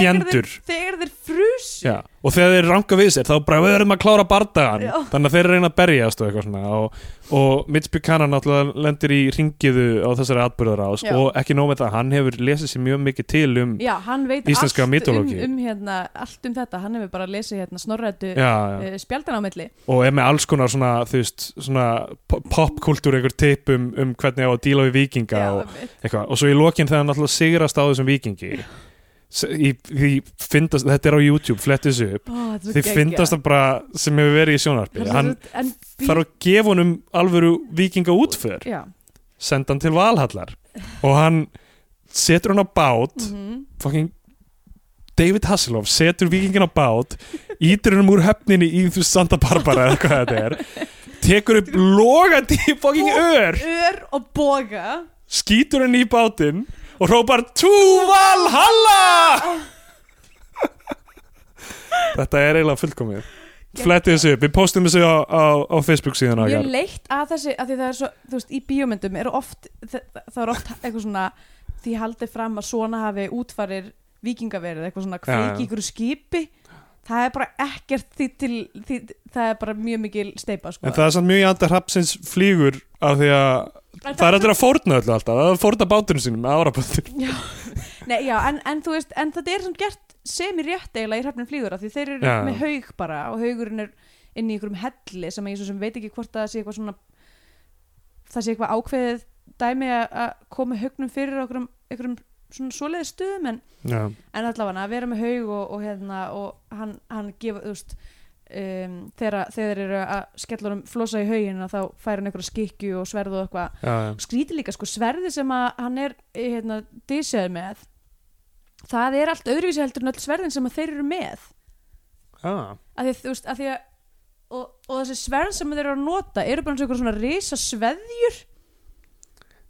þeir,
fjendur
þegar þeir frusu
já, og þegar þeir ranga við sér þá bara við erum að klára bardagan
Já.
þannig að þeir reyna að berjast og eitthvað svona og, og Mitch Buchanan náttúrulega lendir í ringiðu á þessari atbyrðarás
Já.
og ekki nóg með það, hann hefur lesið sér mjög mikið til um
Já, hann veit
Íslenska
allt um,
mytológíu.
um hérna, allt um þetta hann hefur bara lesið hérna snorrættu
já, já.
uh, spjaldan á milli
og er með alls konar svona, þú veist, svona po- popkultúr einhver tip um, um hvernig á að díla við vikinga og
einmitt.
eitthvað og svo í lokinn þegar hann alltaf sigrast á þessum vikingi s- í, í, fyndast, þetta er á YouTube, flett þessu upp
Ó, þetta er svo
þið
geggjað.
fyndast það bara sem hefur verið í sjónarpi hann
Hann- en bý-
þarf að gefa honum alvöru vikinga útför
Já,
senda hann til Valhallar og hann setur hann á bát
mhm.
fucking David Hasselhoff setur vikingin á bát ítir hennum úr höfninni í þú veist, Santa Barbara eða hvað þetta er tekur upp logandi fucking ör
Ör og boga
skýtur henni í bátinn og hrópar To Valhalla þetta er eiginlega fullkomið flettið þessu upp, við postum þessu á, á, á Facebook síðan
mjög
okkar
leitt að þessi að því það er svo, þú veist, í bíómyndum eru oft, það, það er oft eitthvað svona því haldið fram að svona hafi útfarir vikingaverið, eitthvað svona
já.
kveiki ykkur skipi það er bara ekkert því til því, það er bara mjög mikil steipa sko.
en það er samt mjög í anda hrapsins flýgur af því að það er allir að fórna öllu alltaf, það er að fórna bátunum sínum árabátur,
Nei, já, en, en þú veist, en þetta er sem gert sem í rétt eiginlega í hrefnum flýgur af því þeir eru
Já.
með haug bara og haugurinn er inn í einhverjum helli sem ég svo sem veit ekki hvort að það sé eitthvað svona það sé eitthvað ákveðið dæmi að að koma haugnum fyrir okkur um einhverjum svona svoleiði stuðum en,
já,
en allavega að vera með haug og, og hérna og hann, hann gefa, þú veist um, þegar, þegar þeir eru að skella um flosa í hauginu þá fær hann einhverja skikju og sverð og eitthvað
já, já.
skrítið líka sko sverði sem að hann er eh, hérna, dísjaður með það er allt öðruvísi heldur en öll sverðin sem að þeir eru með
Ah.
að því, að, þú veist, að því að og, og þessi sverð sem þeir eru að nota eru bara eins og einhver svona risa sveði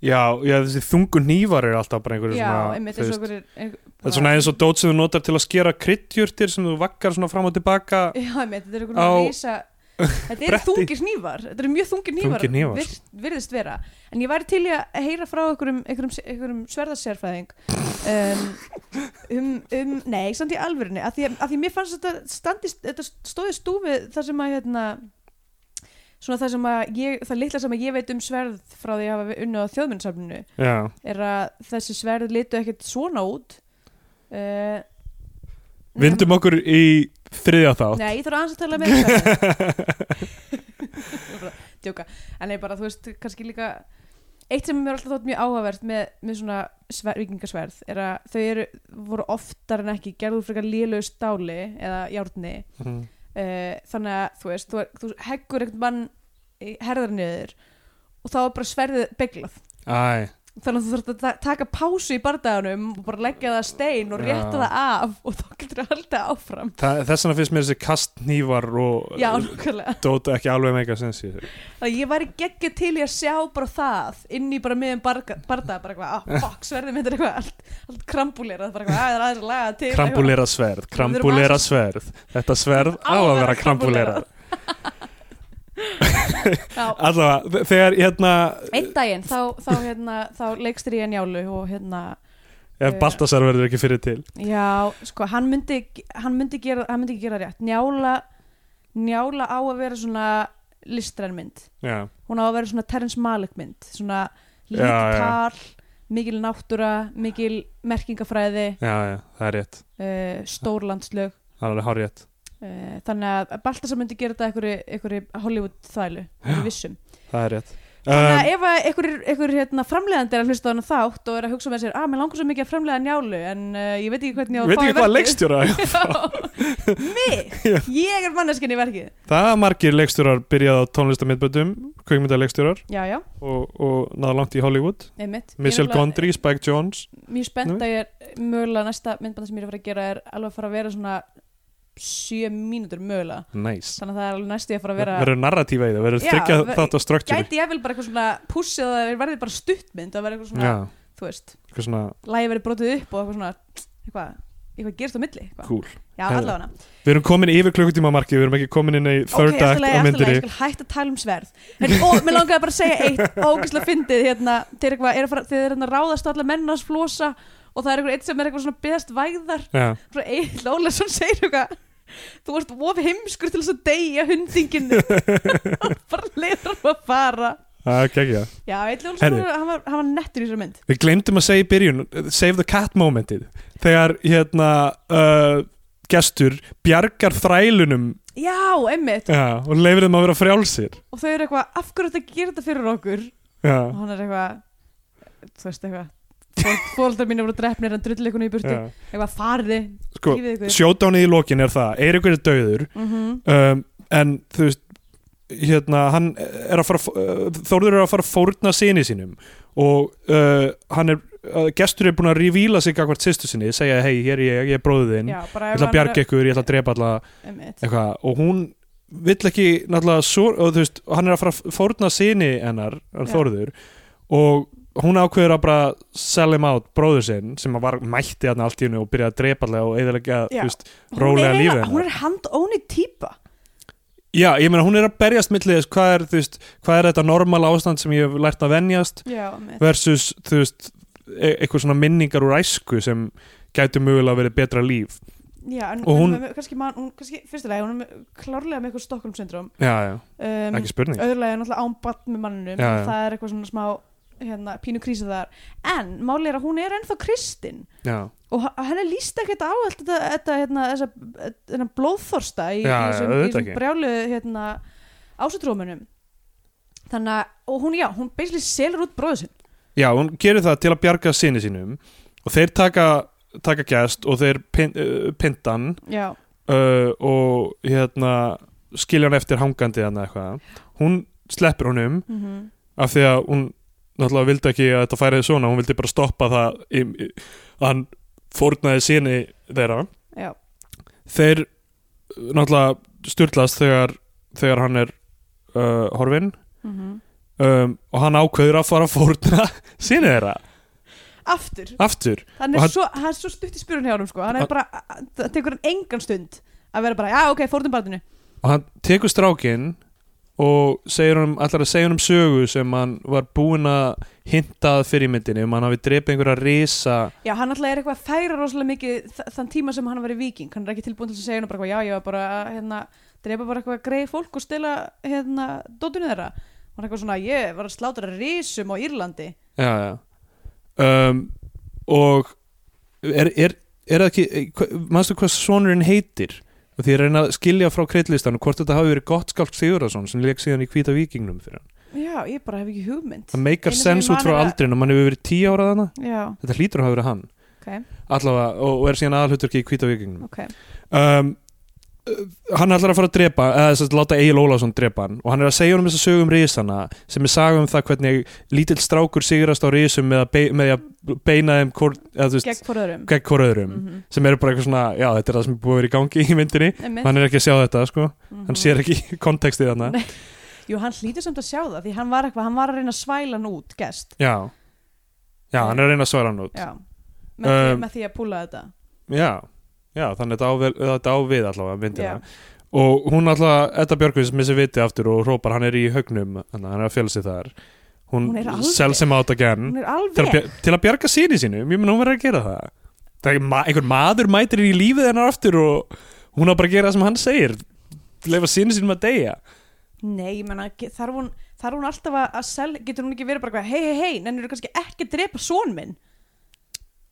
já, já, þessi þungu nývar er alltaf bara einhverju
já,
svona,
einmitt
þú
eins og
veist,
einhver einhver-
það er svona eins og dót sem þú notar til að skera kryddjurtir sem þú vakkar svona fram og tilbaka
já, einmitt, þetta eru einhver
Á-
svona risa þetta eru
bretti.
þungir hnífar þetta eru mjög þungir hnífar,
Þungir hnífar,
vir, virðist vera en ég væri til í að heyra frá einhverjum, einhverjum, einhverjum sverðarsérfæðing um, um, um nei, samt í alvörinu að því, að því mér fannst þetta, standi, þetta stóði stúfi þar sem að hérna, svona það sem að ég, það litla sem að ég veit um sverð frá því að hafa unnið á þjóðmunnsafninu
já,
er að þessi sverð litu ekkert svona út uh,
vindum okkur í þriðja þátt
Nei, ég þarf aðeins að tala með þetta Djóka En nei, bara, þú veist, kannski líka Eitt sem mér er alltaf þótt mjög áhugavert með, með svona sver, vikingasverð er að þau eru, voru oftar en ekki gerðu frekar lélögu stáli eða járni
Mhm.
uh, þannig að þú veist, þú, er- þú heggur einhvern mann í- herðar niður og þá er bara sverðið beglað
Æ,
þannig að þú þurft að ta- taka pásu í bardaganum og bara leggja það að stein og rétta
Já.
það af og þá getur það alltaf áfram
það, þess vegna finnst mér þessi kastnývar og uh,
Já, nokkulega
dót ekki alveg mega sens í þessu
að ég væri geggja til í að sjá bara það inn í bara miðum barga- bardaga bara eitthvað,
Eh.
ah, fuck, sverðið mitt er eitthvað allt, allt krambulerað, bara eitthvað, að það er aðeins að laga til
Krambulera sverð, krambulera sverð Þetta sverð á að vera krambulera
eitthvað. Já,
Allavega, þegar hérna
einn daginn, þá, þá, hérna, þá leikstir ég að njálu og hérna,
ef Baltasar verður ekki fyrir til
já, sko, hann myndi, hann myndi, gera, hann myndi ekki gera rétt njála, njála á að vera svona listræn mynd
Já,
hún á að vera svona Terrence Malick mynd svona
Já,
lítið
já.
tal, mikil náttúra mikil merkingafræði
já, já, það er rétt
uh, stórlandslög
Það er alveg hár rétt
Eh, þannig að Baltasar myndi gera þetta einhverju, einhverju Hollywood þvælu við vissum.
Það er rétt
Þannig
um,
að ef að einhverjir einhverjir, hérna, framlegandi er að hlusta á hana þátt og er að hugsa með sér að ah, mér langar svo mikið að framlega njálu en uh, ég veit ekki hvernig ég á að
Um, Veit
fá í
ekki hvað
verkið."
leikstjóra
(laughs) Já. mig, ég er manneskinn í verkið
Það er margir leikstjórar byrjað á tónlistamittböndum Kvikmyndaleikstjórar
já, já,
og, og náða langt í Hollywood
einmitt Ég er
Michelle
nefnilega
Gondry, Spike Jones
mjög spennt að ég er mögulega næsta myndband sem ég er að fara að gera er alveg að fara að vera svona sjö mínútur mögulega
Nice
þannig að það er alveg næstu ég að fara að vera
Verður narratífa í það, verður
Já,
þryggja
ver-
þátt á struktúri
gæti ég vel bara eitthvað svona pússið að það verði bara stuttmynd að vera eitthvað svona,
Já,
þú veist
eitthvað svona
lægi verið brotið upp og eitthvað svona eitthvað, eitthvað gerist á milli eitthvað.
cool
já,
Heyrðu.
allavega hana
Við erum komin yfir klukkutíma markið, við erum ekki komin inn í third act á myndinni
ég skal hægt að tala um sverð en, og mér langaði bara að segja eitt ógæslega fyndið hérna, þeir eru eitthvað, er að fara, þeir eru hérna að ráðast á alla mennars flosa og það er eitthvað eitt sem er eitthvað svona beðast væðar
Já,
frá Egil Ólafsson segir eitthvað þú ert of heimskur til þess að deyja
(laughs)
hundinginu og bara leiður hann að fara
það er geggja
já, Egil Ólafsson,
Heyrðu.
var- hann var, hann var nettur í þessar mynd
Við glemdum að segja í byrjun, uh, save the cat momentið Þegar hérna uh, gestur bjargar þrælunum
já, emmitt,
já, og leifir þeim að vera frjálsir
og þau eru eitthvað af hverju þetta gerir þetta fyrir okkur
Já,
og hann er eitthvað þú veist eitthvað fóldar mínu voru drefnir en drull eitthvað í burtu
já.
eitthvað farði
Sko,
Lífið ykkur.
sjódánið í lokin er það Eiríkur er dauður
mm -hmm.
um, en þú veist hérna, hann er að fara uh, Þórður er að fara að fórna sinni sínum og uh, hann er uh, gestur er búin að revíla sig gagvart sýstu sinni, segja hei, hér er ég, ég er bróðið þinn ég
já, bara
ætla að bjarga ykkur, ég ætla að drepa alla
ykkur
eitthvað, og hún vill ekki náttúrulega, svo, og, þú veist, hann er að fara að fórna sinni hennar, hann
Já.
Þórður og hún ákveður að bara sell him out, bróður sinn sem að var mætti hann allt í hennu og byrjaði að drepa alla og eðalega,
Já.
þú veist, rólega
hún
lífið hennar
er handóni típa
Já, ég meina hún er að berjast millið þess, hvað er, þú veist, hvað er þetta normal ástand sem ég hef lært að venjast
já, með
versus þú veist, e eitthvað svona minningar úr æsku sem gætu mögulega verið betra líf
Já, en
Og
hún,
hún-
kannski, man, hún, kannski fyrstulega, hún er með- klárlega með eitthvað Stockholm syndrom
Já, já,
um,
ekki spurning
öðrulega er náttúrulega ánbatt með mannunum
Já, já.
það er eitthvað svona smá hérna, pínu krísa þar en máli er að hún er ennþá kristin
Já,
og h- henni líst ekkert á allt þetta, þetta hérna, þessa, hérna, blóðþorsta í, í
Já, já,
þessum, í
auðvitað
þessum
ekki.
brjálu hérna, ásutrómunum þannig að og hún, já, hún basically selur út bróðu sinn
já, hún gerir það til að bjarga sinni sínum og þeir taka, taka gest og þeir pin, uh, pindan
já,
uh, og hérna skilja hann eftir hangandi hann eitthvað hún sleppur honum
mm
af því að hún náttúrulega vildi ekki að þetta færiði svona hún vildi bara stoppa það í, í, að hann fórnaði síni þeirra
já,
þeir uh, náttúrulega styrlast þegar, þegar hann er uh, horfinn
mm
um, og hann ákveður að fara að fórna (laughs) síni þeirra
aftur
aftur
hann
Og
er,
hann-
svo, hann er svo stutt í spyrun hjá hann sko. hann er
Hann-
bara, það tekur hann engan stund að vera bara, já ok, fórnum barninu
og hann tekur strákinn og segir honum, allar að segja honum sögu sem hann var búinn að hintað fyrir myndinni um að hann hafi drepið einhverja risa
já, hann alltaf er eitthvað að færa rosalega mikið þ- þann tíma sem hann var í viking hann er ekki tilbúin til að segja hann bara, eitthvað, já, ég var bara að, hérna, drepa bara eitthvað greið fólk og stela hérna, dóttunni þeirra hann er eitthvað svona, ég var að slátra risum á Írlandi
já, já. Um, og er, er, er það ekki hva, manstu hvað sonurinn heitir og því ég reyna að skilja frá kreitlistan og hvort þetta hafi verið gott skalk Sigurðarsson sem leik síðan í Hvíta Víkingnum fyrir hann
já, ég bara hef ekki hugmynd
það meikar
Eina sem
sens
ég
út frá
man er að-
aldrin og mann hefur verið tíu ára þarna
já,
þetta hlýtur að hafa verið hann
ok,
allavega og, og er síðan aðalhuturki í Hvíta Víkingnum
ok
um, uh, hann ætlar að fara að drepa eða þess að láta Egil Ólafsson drepa hann og hann er að segja honum þess að sögum risana sem er saga um það hvernig lítill strákur sigurast á risum með að, be, með að beina þeim hvort, eða, þú veist,
gegn hvort öðrum
gegn hvort öðrum
mm -hmm.
sem eru bara eitthvað svona, já þetta er það sem er búið að vera í gangi í myndinni,
Mhm.
hann er ekki að sjá þetta sko hann sér ekki (laughs) kontekstið þarna
Nei. Jú, hann hlýtur samt að sjá það því hann var eitthvað, hann var að reyna að svæla hann út gest,
já, já hann er að reyna að svara hann út
já með, því,
Um,
með því að púla þetta
já, já þannig þetta á, vel- þetta á við allavega myndina
Já.
og hún alltaf, Edda Björgvins missi viti aftur og hrópar hann er í haugnum hann hann er að fjöla sig þar hún,
Hún er alveg-
selst sem átt again
hún er
til að,
alveg,
bjar- til að bjarga síni sínum ég menn hún verður að gera það, það er, ekki ma einhver maður mætir í lífið hennar aftur og hún á bara að gera það sem hann segir leifa síni sínum að deyja
nei, ég menna ge- þarf hún, þarf hún alltaf að að sel getur hún ekki verið bara eitthvað, hei, hei, hei nennir þú kannski ekki að drepa són minn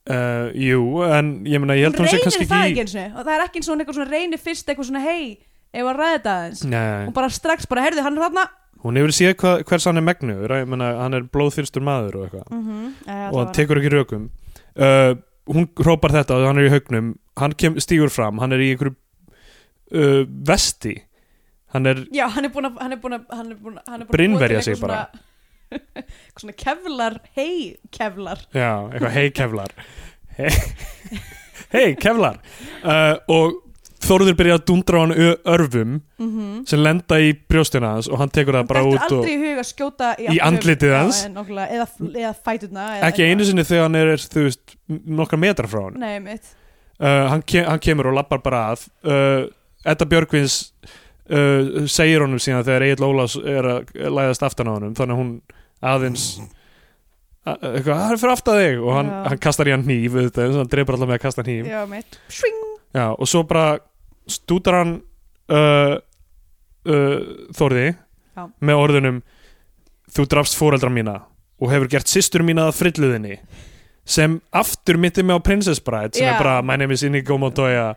uh, jú, en ég meina ég
hún
held hún sé
reynir það
kannski
ekki
ekki
eins og það er ekki eins og hún eitthvað svona reynir fyrst eitthvað svona, hei, ef að ræða þetta aðeins
Nei,
hún bara strax bara, heyrðu, hann er þarna
hún hefur séð hva, hvers hann er megnugur ég meina hann er blóðþyrstur maður og eitthvað
mm -hmm.
og hann tekur ekki rökum uh, hún hrópar þetta og hann er í haugnum hann kem, stígur fram, hann er í einhverju uh, vesti hann er,
já, hann er búin að hann er búin að, hann er búin að, hann er búin að
Brynverja
búa til
sig
eitthvað
bara.
svona- (laughs) eitthvað svona kevlar, hei, kevlar
já, eitthvað hei kevlar hei (laughs) hey, kevlar uh, og Þóruður byrja að dundra á hann ö- örfum
mm -hmm.
sem lenda í brjóstina hans og hann tekur það bara
Þetta
út
er
og
aldrei í hug að skjóta í,
Í andlitið
Já,
hans.
en nokkulega, eða, eða fætuna eða
ekki einu sinni þegar hann er, þú veist, nokkra metra frá hann
Nei, mitt
uh, hann, ke hann kemur og lappar bara að uh, Edda Björgvins uh, segir honum síðan þegar Egil Ólafs er að læðast aftan á honum þannig að hún aðeins a- eitthvað, það er fyrir aftan þig og hann,
Já.
hann kastar í hann hníf auðvitað, eins og hann dreipur alltaf með að kasta hníf
Já, mitt Sving
Já, og svo bara stútar hann uh, uh, Þorði
Já.
með orðunum þú drafst fóreldra mína og hefur gert systur mína að frilluðinni sem aftur mitti mig á Princess Bride sem
Já.
er bara my name is Inigo Montoya uh,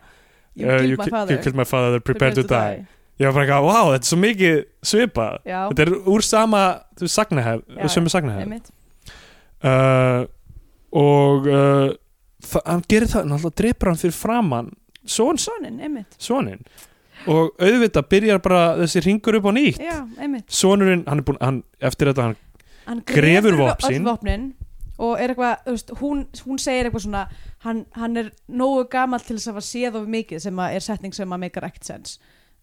You killed my
ki-
father.
you killed my father, prepare, to, die. Ég var bara eitthvað, wow, þetta er svo mikið svipað
Já,
þetta er úr sama, þú veist, sagnahef
Já,
sömu sagnahef
einmitt
uh, og uh, þa- hann gerir það, náttúrulega drepur hann fyrir framann son
Sonin, einmitt
sonin og auðvitað byrjar bara þessi ringur upp á nýtt
Já, einmitt
sonurinn, hann er búinn, hann, eftir þetta hann,
Hann
Grefur
grefur
vopn
öll
sín.
vopnin og er eitthvað, þú veist, hún, hún segir eitthvað svona hann, hann er nógu gamall til þess að hafa séð of mikið sem að er setning sem að make correct sense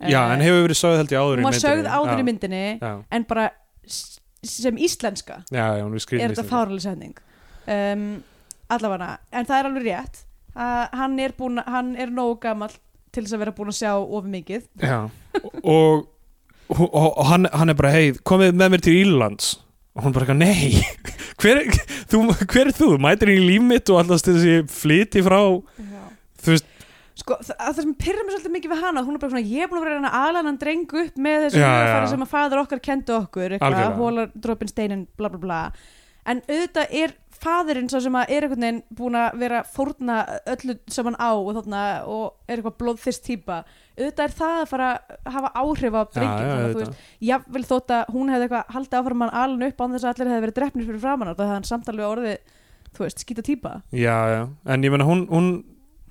já, hann hefur verið sögð held ég áður
Eh, Hún
í
var
myndinni.
sögð áður
já,
í myndinni
já,
en bara s- sem íslenska
já, já, hún er skrýðin
er þetta fáraleg setning um, allavega, en það er alveg rétt að hann er, búin, hann er nógu gamall til þess að vera búin að sjá of mikið
já, og og, og, og hann, hann er bara hei, komið með mér til Írlands og hún bara, eitthvað, nei (laughs) hver, er- þú, hver er þú, mætir í líf mitt og allast þessi flyti frá þú veist,
Sko, það, það sem pyrra mig svolítið mikið við hana hún er bara svona, ég er búin að vera að aðla hann dreng upp með þessu
Já,
hugarfari
já.
sem að faður okkar kendi okkur eitthvað,
Algjörlega.
hólar dropin steinin, bla bla bla en auðvitað er faðurinn svo sem að er einhvern veginn búin að vera fórna öllu sem hann á og, þarna, og er eitthvað blóðþist típa auðvitað er það að fara að hafa áhrif á drengin, þannig að þú veist, jafnvel þótt að hún hefði eitthvað haldið áfram að aðla hann upp án þess að allir hefði verið drefnir fyrir framann það hefði hann samtalið orðið, þú veist, skýta típa
já, já en ég meina, hún, hún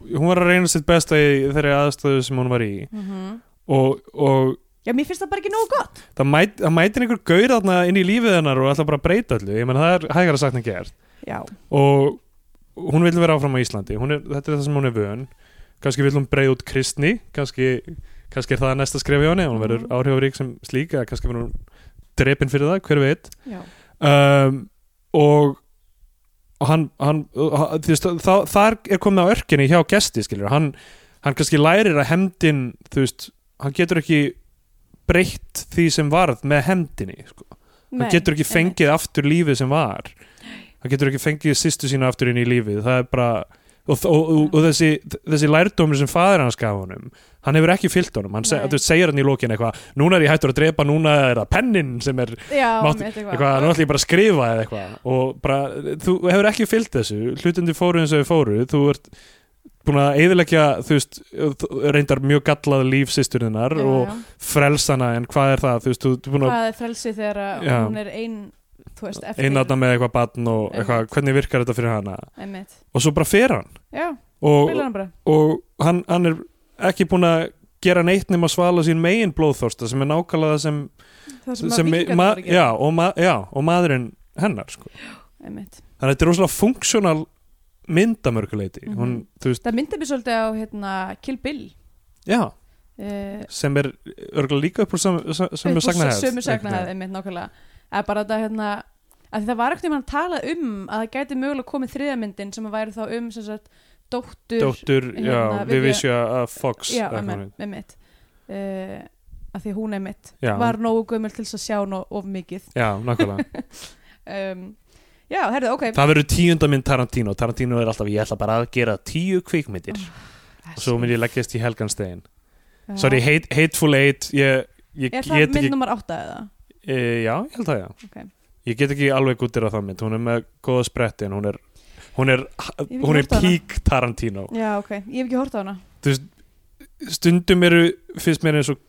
hún var að reyna sitt besta í þeirri aðstöðu sem hún var í
Mhm.
og, og
Já, mér finnst það bara ekki nógu gott
það, mæt, það mætir einhver gaur þarna inn í lífið hennar og ætla bara að breyta öllu ég meina, það er hægara sagt en gert
Já,
og hún vil vera áfram á Íslandi hún er, þetta er það sem hún er vön kannski vil hún breið út kristni kannski, kannski er það næsta skrif hjá henni hún verður
Mhm.
áhrifarík sem slíka kannski verður hún drepin fyrir það, hver veit
já
um, og og hann, hann og- þú veist, þá, þar er komið á örkinni hjá gesti skilur, hann, hann kannski lærir að hendin, þú veist, hann getur ekki breytt því sem varð með hendinni, sko hann
Nei,
getur ekki
einmitt.
fengið aftur lífið sem var hann getur ekki fengið sýstu sína aftur inn í lífið það er bara og, og, og, og þessi, þessi lærdómur sem faðir hans gaf honum hann hefur ekki fyllt honum hann seg,
Nei.
þú veist, segir hann í lókin eitthvað núna er ég hættur að drepa, núna er það pennin sem er
já,
mátt-
einmitt,
eitthvað, nú ætlum ég bara að skrifa eða eitthvað og bara, þú hefur ekki fyllt þessu hlutindi fóru eins og þau fóru þú ert búin að eyðileggja þú veist, þú- reyndar mjög gallað líf sýsturinnar
Já,
og
já.
frelsana en hvað er það, þú veist, þú ert búin að
hvað er frelsi þegar að
Já.
hún er ein þú veist, eftir
einarna með eitthvað batn og eitthvað,
Einmitt.
hvernig virkar þetta fyrir hana
einmitt.
og svo bara fer hann
já,
og,
spilar hann bara
og hann, hann er ekki búin að gera neitt nema að svala sín megin blóðþorsta sem er nákvæmlega það sem,
það sem,
sem
sem að
ma,
vikingar voru að
já,
gera.
og ma, já, og maðurinn hennar sko.
Einmitt.
þannig að þetta er rosalega funksjónal myndamörkuleiti mm
Mhm.
hún, þú veist,
það myndi mér svolítið á hérna, Kill Bill
já,
uh,
sem er örgulega líka upp úr sam- sam- sömu sagnahefð
sömu sagnahæð einmitt nákvæmlega að bara þetta hérna að því það var ekkert um hann talað um að það gæti mögulega komið þriðamyndin sem að væri þá um sem sagt, dóttur,
dóttur, já,
hérna,
við
Vivian-
vissju að Fox
já,
eitthvað
einmitt,
þannig.
einmitt. Uh, að því hún einmitt
Já.
var nógu gömul til þess að sjá nóg of mikið
já, nákvæmlega
(laughs) um, já, herðu, ok
Það verður tíunda mynd Tarantino Tarantino er alltaf, ég ætla bara að gera tíu kvikmyndir og svo mynd ég leggjast í helganstegin
Ah, Já.
Sorry, hate, Hateful Eight ég, ég
Er
get
það mynd
ekki
nummer 8 eða?
e, Já, ég held það já
Ok.
Ég get ekki alveg gúttir á það mynd Hún er með góða spretti en hún er hún er,
ekki
hún er
hort á hana.
pík Tarantino
Já, ok, ég hef ekki hort á hana
Stundum eru, finnst mér eins og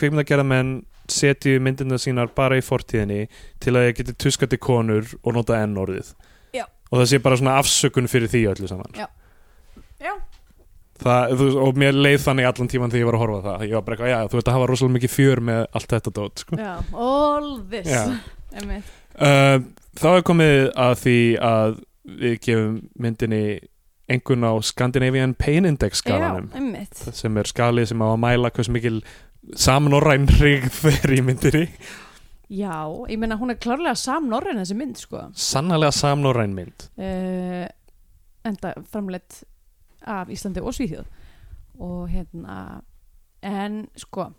kvikmyndagerða menn setju myndina sínar bara í fortíðinni til að ég geti tuskati konur og nota enn orðið
Já.
og það sé bara svona afsökun fyrir því öllu saman
Já,
það, þú, veist, og mér leið þannig allan tíman þegar ég var að horfa á það ég var bara eitthvað, já, þú veist að hafa rosalega mikið fjör með allt þetta dót sko.
já, all this
Já.
Einmitt.
uh, þá er komið að því að við gefum myndinni engun á Scandinavian Pain Index
Já,
skalanum
einmitt
sem er skalið sem á að mæla hversu mikil samnorræn hrigð (laughs) er í myndinni
Já, ég meina hún er klárlega samnorrin þessi mynd sko
sannlega samnorræn mynd
uh, Enda framleitt af Íslandi og Svíþjóð Og hérna En sko uh,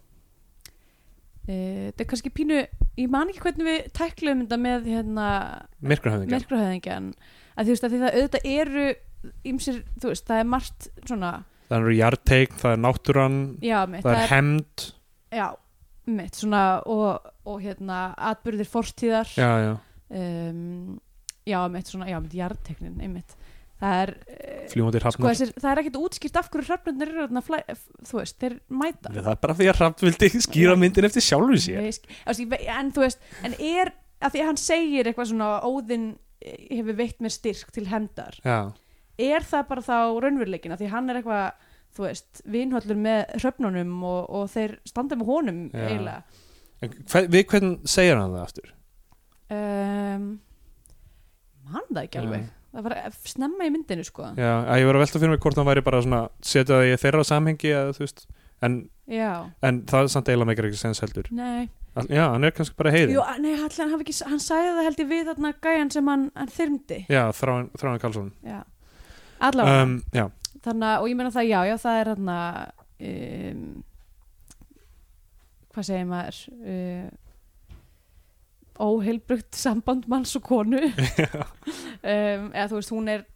Það er kannski pínu Ég man ekki hvernig við tækluðum þetta með hérna
myrkrahöfðingar
Merkurhæðingjan að því, þú veist, að því það auðvitað eru ýmsir, þú veist, það er margt svona,
það eru jarteik, það er náttúran
já, mitt,
það er hemd
já, mitt, svona og, og hérna, atbyrðir fortíðar
já, já.
Eh, um, já, mitt, svona, já, mitt, jarðteknin einmitt, það er eh,
fljúmandir
sko,
hafnar
þessir, það er ekkert útskýrt af hverju hrafnundir eru þarna, flæ- f- þú veist, þeir mæta
það er bara því að hraft vildi skýra myndin eftir sjálfu sér
Ég veist- þú veist, ég ve- en þú veist, en er að því að hann segir eitthvað svona óðinn eh, hefur veitt mér styrk til hendar
Já,
er það bara þá raunveruleikin af því hann er eitthvað, þú veist vinhöllur með hröfnunum og, og þeir standa með honum
Já.
eiginlega
en hver, við hvernig segir hann það aftur?
um, mann það ekki alveg það var eh, snemma í myndinu sko já,
Já, að ég var að velta fyrir mig hvort hann væri bara svona setja það í þeirra samhengi eða þú veist en, en það er samt eiginlega meikir ekki sens heldur
nei
All, Já, hann er kannski bara heiðin
Jú, a- nei, allan, hann, hafi ekki, hann sagði það held ég við þarna gæjan sem hann, hann þyrmdi
Já, Þráin, Þráin Karlsson
já. allavega
Já,
um, þannig að, og ég meina það, já, já, það er þarna um,
hvað segir maður uh, óheilbrugt samband manns og konu
(laughs)
um,
Um,
eða þú veist, hún er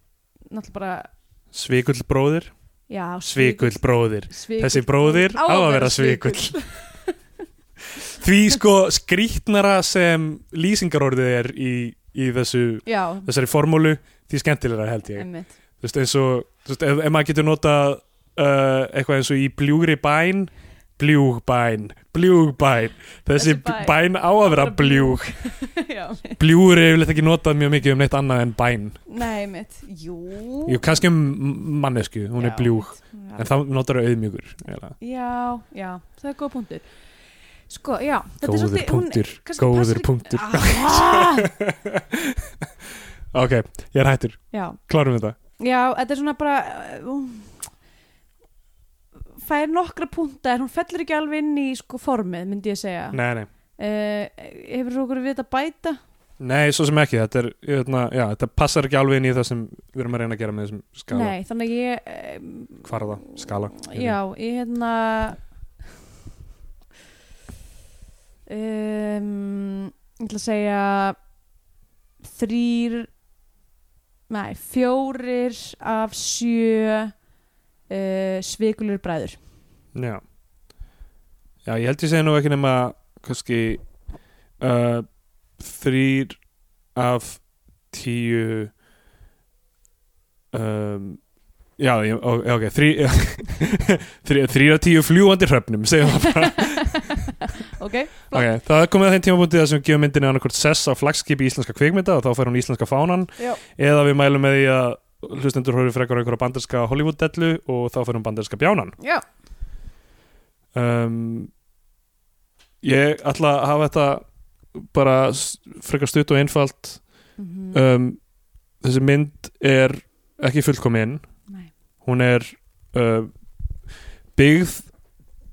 náttúrulega bara
Svikull bróðir
já,
Svikull bróðir
svikull
Þessi bróðir á að vera svikull (laughs) Því sko skrítnara sem lýsingarorðið er í, í þessu,
já,
þessari formúlu því skemmtilegra held
(laughs)
ég
einmitt
Þú veist eins og þú veist, ef, ef maður getur nota uh, eitthvað eins og í bljúgri bæn bljúgbæn, bljúgbæn þessi
Þessi bæn.
bæn á að vera
Bara bljúg.
bljúg
já,
(laughs) bljúgur er yfirleitt ekki notað mjög mikið um neitt annað en bæn
Nei, mitt, jú
Jú, kannski um mannesku, hún
Já,
er bljúg
mitt. Já.
en þá notar það auðmjögur eiginlega.
Já, já, það er góð punktur Sko, já þetta er
góður
svolítið- hún-
punktur,
kannski
góður
passar-
punktur
Ah!
(laughs) ok, ég er hættur,
Já,
klárum þetta
já, þetta er svona bara uh, um, fær nokkra punta en hún fellur ekki alveg inn í sko formið, myndi ég segja uh,
nei, nei,
Hefur þú okkur við þetta að bæta?
nei, svo sem ekki þetta, er, jötna, já, þetta passar ekki alveg inn í það sem við erum að reyna að gera með þessum skala
Nei, þannig að ég um,
kvarða, skala
Já, ég hérna um, Ég ætla að segja þrýr Nei, fjórir af sjö uh, svikulur bræður
já. já, ég held ég segi nú ekki nema kannski uh, þrýr af tíu um, já, ég, ó- já, ok (laughs) þrý, þrý, þrýr af tíu fljúandi hröfnum, segjum það bara
Ok,
Ok, það er komið að þeim tímabúndið þar sem við gefum myndinni annarkvort sess á flagskipi íslenska kvikmynda og þá fær hún íslenska fánan
Já.
eða við mælum með því að hlustendur horfir frekar á einhverja banderska Hollywood-dellu og þá fær hún banderska bjánan
já
um, Ég ætla að hafa þetta bara s- frekar stutt og einfalt
mm
um, Þessi mynd er ekki fullkomin
Nei.
hún er uh, byggð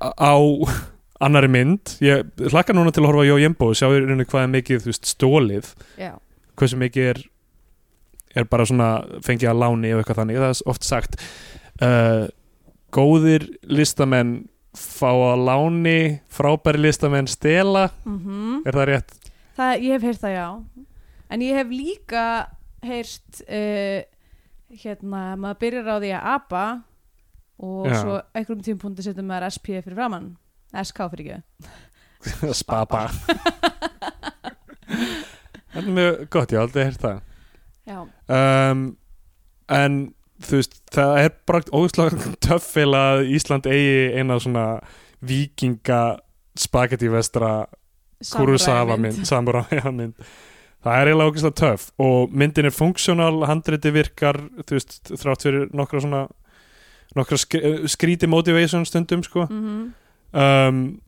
á (laughs) annari mynd ég hlakka núna til að horfa á Jó Jembo og sjá í rauninni hvað er mikið þú veist, stólið
Já,
hversu mikið er, er bara svona fengið að láni eða eitthvað þannig, það er oft sagt uh, góðir listamenn fá að láni frábæri listamenn stela
mm
er það rétt? (laughs)
það, ég hef heyrt það já En ég hef líka heyrt uh, hérna, maður byrjar á því að apa og
Já.
svo einhverjum tímpúndi setur maður SP fyrir framann SK fyrir ekki
spapa þetta er mjög gott, ég hef aldrei heyrt það
Já,
um, en þú veist, það er bara (laughs) óslega töffil að Ísland eigi eina svona vikinga spagetti vestra Kurosawa mynd, samurai mynd það er eiginlega ógeðslega töff og myndin er funksjónal, handriti virkar þú veist, þrátt fyrir nokkra svona nokkra skr skríti motivation stundum sko
mm -hmm,
um,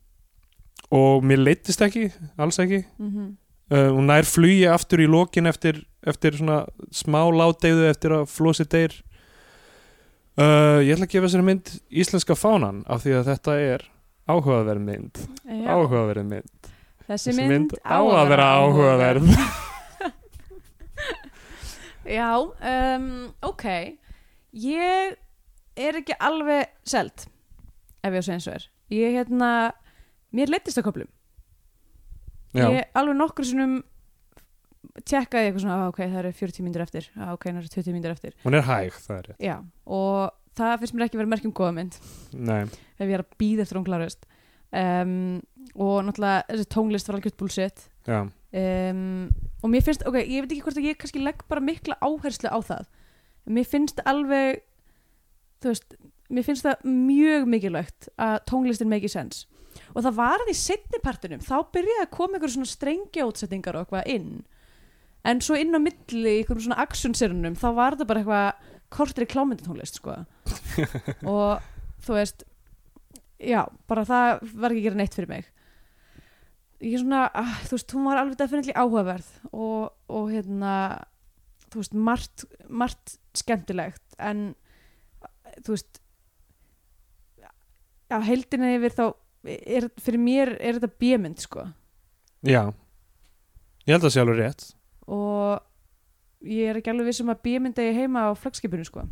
og mér leittist ekki, alls ekki
mm -hmm.
uh, hún nær flugi aftur í lokin eftir, eftir svona smá ládeyðu eftir að flósi deyr uh, ég ætla að gefa þessari mynd íslenska fánan af því að þetta er áhugaverð mynd áhugaverð mynd
Þessi,
þessi mynd á að vera áhugaverð
Já, um, ok Ég er ekki alveg selt ef ég á segja eins og er Ég hérna, mér leittist að köplum
(laughs) já,
ég alveg nokkur sinnum tjekkaði eitthvað svona, "Ah, ok, það eru 40 mínútur eftir ah, ok, það eru 20 mínútur eftir
hún er hæg það er rétt
já, og það finnst mér ekki vera merkjum góða mynd
Nei.
ef ég er að býða eftir hún klarust um, og náttúrulega þessi tónlist var algjört bullshit
já,
um, og mér finnst, ok, ég veit ekki hvort að ég kannski legg bara mikla áherslu á það mér finnst alveg þú veist, mér finnst það mjög mikilvægt að tónlistin make sense og það var það í setni partinum þá byrjaði að koma ykkur svona strengja útsetningar og eitthvað inn en svo inn á milli í ykkur svona actionsirunum þá var það bara eitthvað kortri klámyndatónlist sko og þú veist já, bara það var ekki að gera neitt fyrir mig ég er svona, ah, þú veist, hún var alveg definitely áhugaverð og, og hérna þú veist, margt, margt skemmtilegt en þú veist á heildina yfir þá er, fyrir mér er þetta bjömynd sko
já ég held að það sé alveg rétt
og ég er ekki alveg viss um að bjömynd eigi heima á flagskipinu sko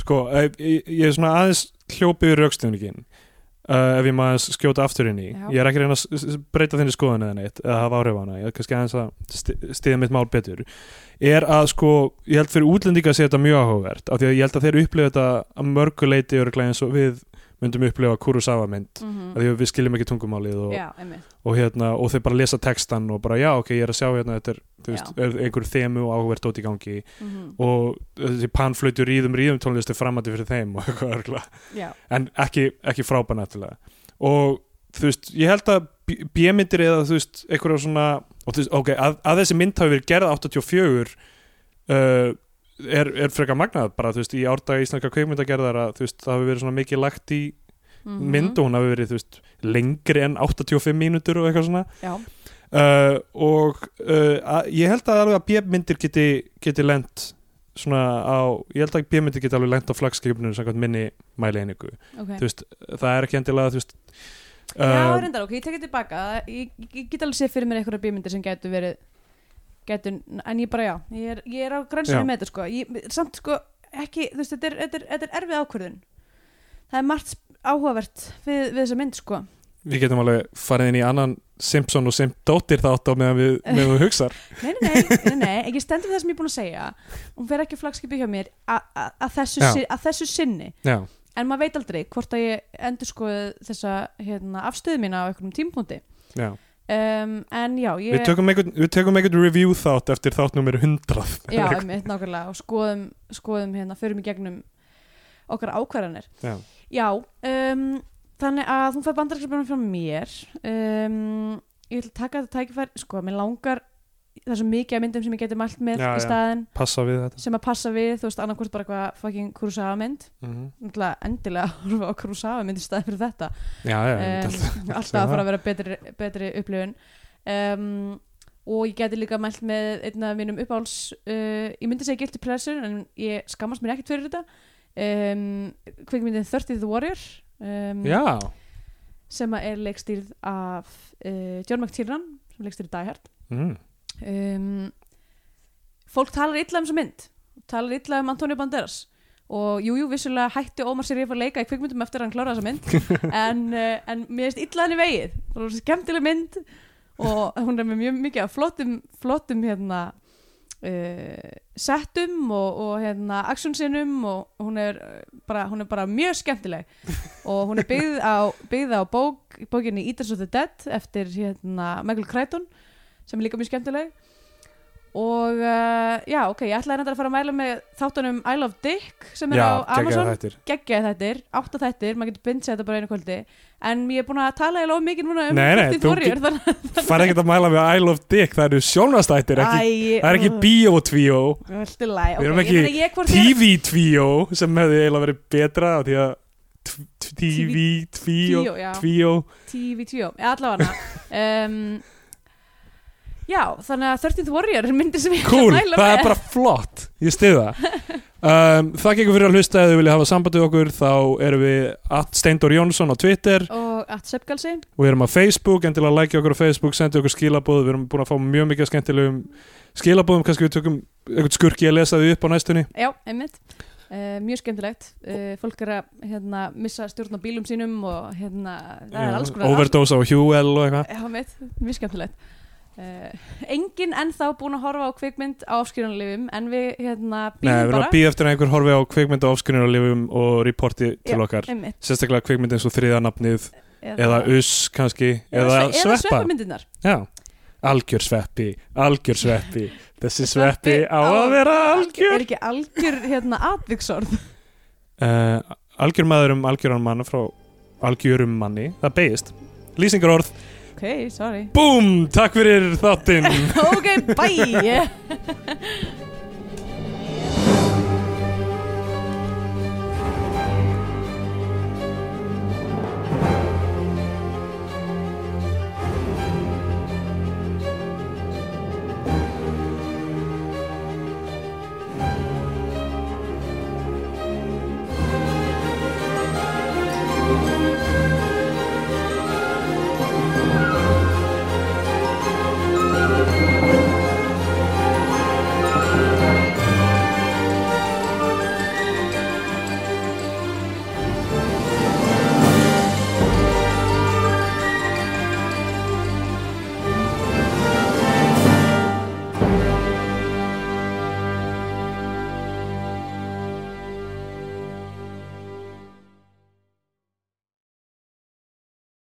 sko, eh, ég, ég er svona aðeins hljópið í raukstuðningin uh, ef ég maður skjóta aftur inn í
Já.
ég er ekki að reyna að s- s- breyta þinni skoðan eða neitt eða hafa áhrif á hana, ég er kannski aðeins að sti- stiða mitt mál betur er að sko, ég held fyrir útlendinga að sé þetta mjög áhugavert af því að ég held að þeir upplifa þetta að mörguleiti örglega eins og við myndum upplifa Kurosawa mynd af því að við skiljum ekki tungumálið og,
Mm. Já, einmitt
og, hérna, og þeir bara lesa textan og bara já ok, ég er að sjá hérna þetta er, þú veist, er einhver þemu og áhugavert út í gangi
Mhm.
og þessi panflöytu rýðum rýðum tónlist er framandi fyrir þeim og eitthvað örgla
Já,
en ekki, ekki frábæð náttúrulega og þú veist, ég held að B- B-myndir eða þú veist, einhverja svona og þú veist, ok, að, að þessi mynd hafi verið gerð 84 uh, er, er frekar magnað bara, þú veist, í árdaga íslenska kveikmyndagerðar að þú veist, það hafi verið svona mikið lagt í
Mhm.
mynd og hún hafi verið, þú veist, lengri en 85 mínútur og eitthvað svona
já,
uh, og uh, að, ég held að alveg að B-myndir geti, geti lent svona á, ég held að B-myndir geti alveg lent á flagskipnum samkvæmt minni mæli einingu
ok
þú veist, það er ekki endilega þú veist
Já,
uh,
reyndar, ok, ég tekið tilbaka ég, ég get alveg séð fyrir mér einhverja bímyndir sem getur verið getur, en ég bara já ég er, ég er á
Já.
grænsinu með þetta sko ég, samt sko, ekki, þú veist, þetta er, þetta er, þetta er erfið ákvörðun það er margt áhugavert við, við þessa mynd sko
við getum alveg farið inn í annan Simpson og Simpdóttir þátt á meðan við, meðan við
(laughs)
hugsa
Nei, nei, nei, nei, nei, ekki stendur við það sem ég er búin að segja hún fer ekki á flagskipi hjá mér a- a- að þessu,
Já.
si- að þessu sinni
já,
en maður veit aldrei hvort að ég endur sko þessa hérna, afstöðu mína á einhverjum tímpúndi
já.
um, en já, ég
Við, tökum einhvern, við tökum einhvern review þátt eftir þátt nummer 100
já, einmitt nákvæmlega og skoðum, skoðum hérna, förum í gegnum okkar ákvarðanir
(laughs) Já.
já um, þannig að hún fær bandarækskipinu frá mér um, ég vil taka þetta tækifæri sko, mér langar það er svo mikið af myndum sem ég geti mælt með
Já,
í
já.
staðin
passa við þetta
sem að passa við, þú veist, annarkvort bara eitthvað fucking Kurosawa mynd,
mm
náttúrulega endilega að horfa á Kurosawa mynd í staðin fyrir þetta
já, já,
um,
um,
(laughs) alltaf að fara að vera betri, betri upplifun um, og ég geti líka mælt með einn af mínum uppáls uh, ég myndi segja gildi pressur en ég skammast mér ekkert fyrir þetta um, kvikmyndin 30 The Warrior um,
já,
sem að er leikstýrð af uh, John McTiernan sem leikstýrði Die Hard
mm.
um, fólk talar illa um þessa mynd talar illa um Antonio Banderas og jújú, jú, vissulega hætti Ómar sér að leika í kvikmyndum eftir að hann klára þessa mynd en, uh, en mér finnst illa henni vegið það var skemmtileg mynd og hún er með mjög mikið af flottum, flottum hérna uh, settum og, og hérna actionsinnum og hún er, eh, bara, hún er bara mjög skemmtileg og hún er byggð á, byggð á bók, bókinni Eaters of the Dead eftir hérna Michael Crichton sem er líka mjög skemmtileg og uh, já ok, ég ætlaði reyndar að fara að mæla með þáttunum I Love Dick sem er
já
á
geggjaðir
Amazon
þættir.
geggjaði þættir, átta þættir, maður getur bindið þetta bara einu kvöldi en ég er búin að tala í lof mikið núna um
Nei, nei, þú
þorjur
get- farið ekkert að mæla við I love Dick það eru sjónvastættir, ekki, það er ekki bíótvíó
Alltið læg, ok,
Við erum
ég
ekki
meina ég hvort er
TV-tvíó sem hefði eiginlega verið betra af því að t- t- TV-tvíó
Tíó, já,
tvíó
TV tvíó, eða allavega
(laughs)
um, Já, þannig að 13th Warrior er myndi sem ég ætla að
Cool,
mæla
það
með
er bara flott Ég stið það um, Þakka ykkur fyrir að hlusta ef þið vilja hafa samband við okkur þá erum við at Steindor Jónsson á Twitter
(laughs) Og að Seppgalsi
og við erum á Facebook, en til að like okkur á Facebook sendi okkur skilabóð, við erum búin að fá mjög mikið skemmtilegum skilabóðum, kannski við tökum einhvern skurki að lesa þau upp á næstunni
Já, einmitt Uh, mjög skemmtilegt, uh, fólk er að hérna, missa stjórn á bílum sínum og hérna, það er alls konar
Overdose á Hjúel og eitthvað
Já, mitt, mjög skemmtilegt uh, Engin ennþá búin að horfa á kvikmynd á afskýrunarlifum en við hérna
Nei, við
býðum
erum
bara
að býja eftir að einhver horfi á kveikmynda áskynir og lifum og reporti til
Já,
okkar
einmitt,
sérstaklega kveikmynda eins og þriða nafnið eða uss kannski, eða,
eða, sve- eða
sveppa
sveppamyndirnar
Já, algjör sveppi, algjör sveppi þessi sveppi
Sveppi
á að vera algjör
Er ekki algjör hérna atviksorð
uh, Algjör maður um algjöran mann frá algjörum manni, það beigist Lýsingarorð, (laughs)
Ok, sorry
búm, takk fyrir þáttinn
Ok, bye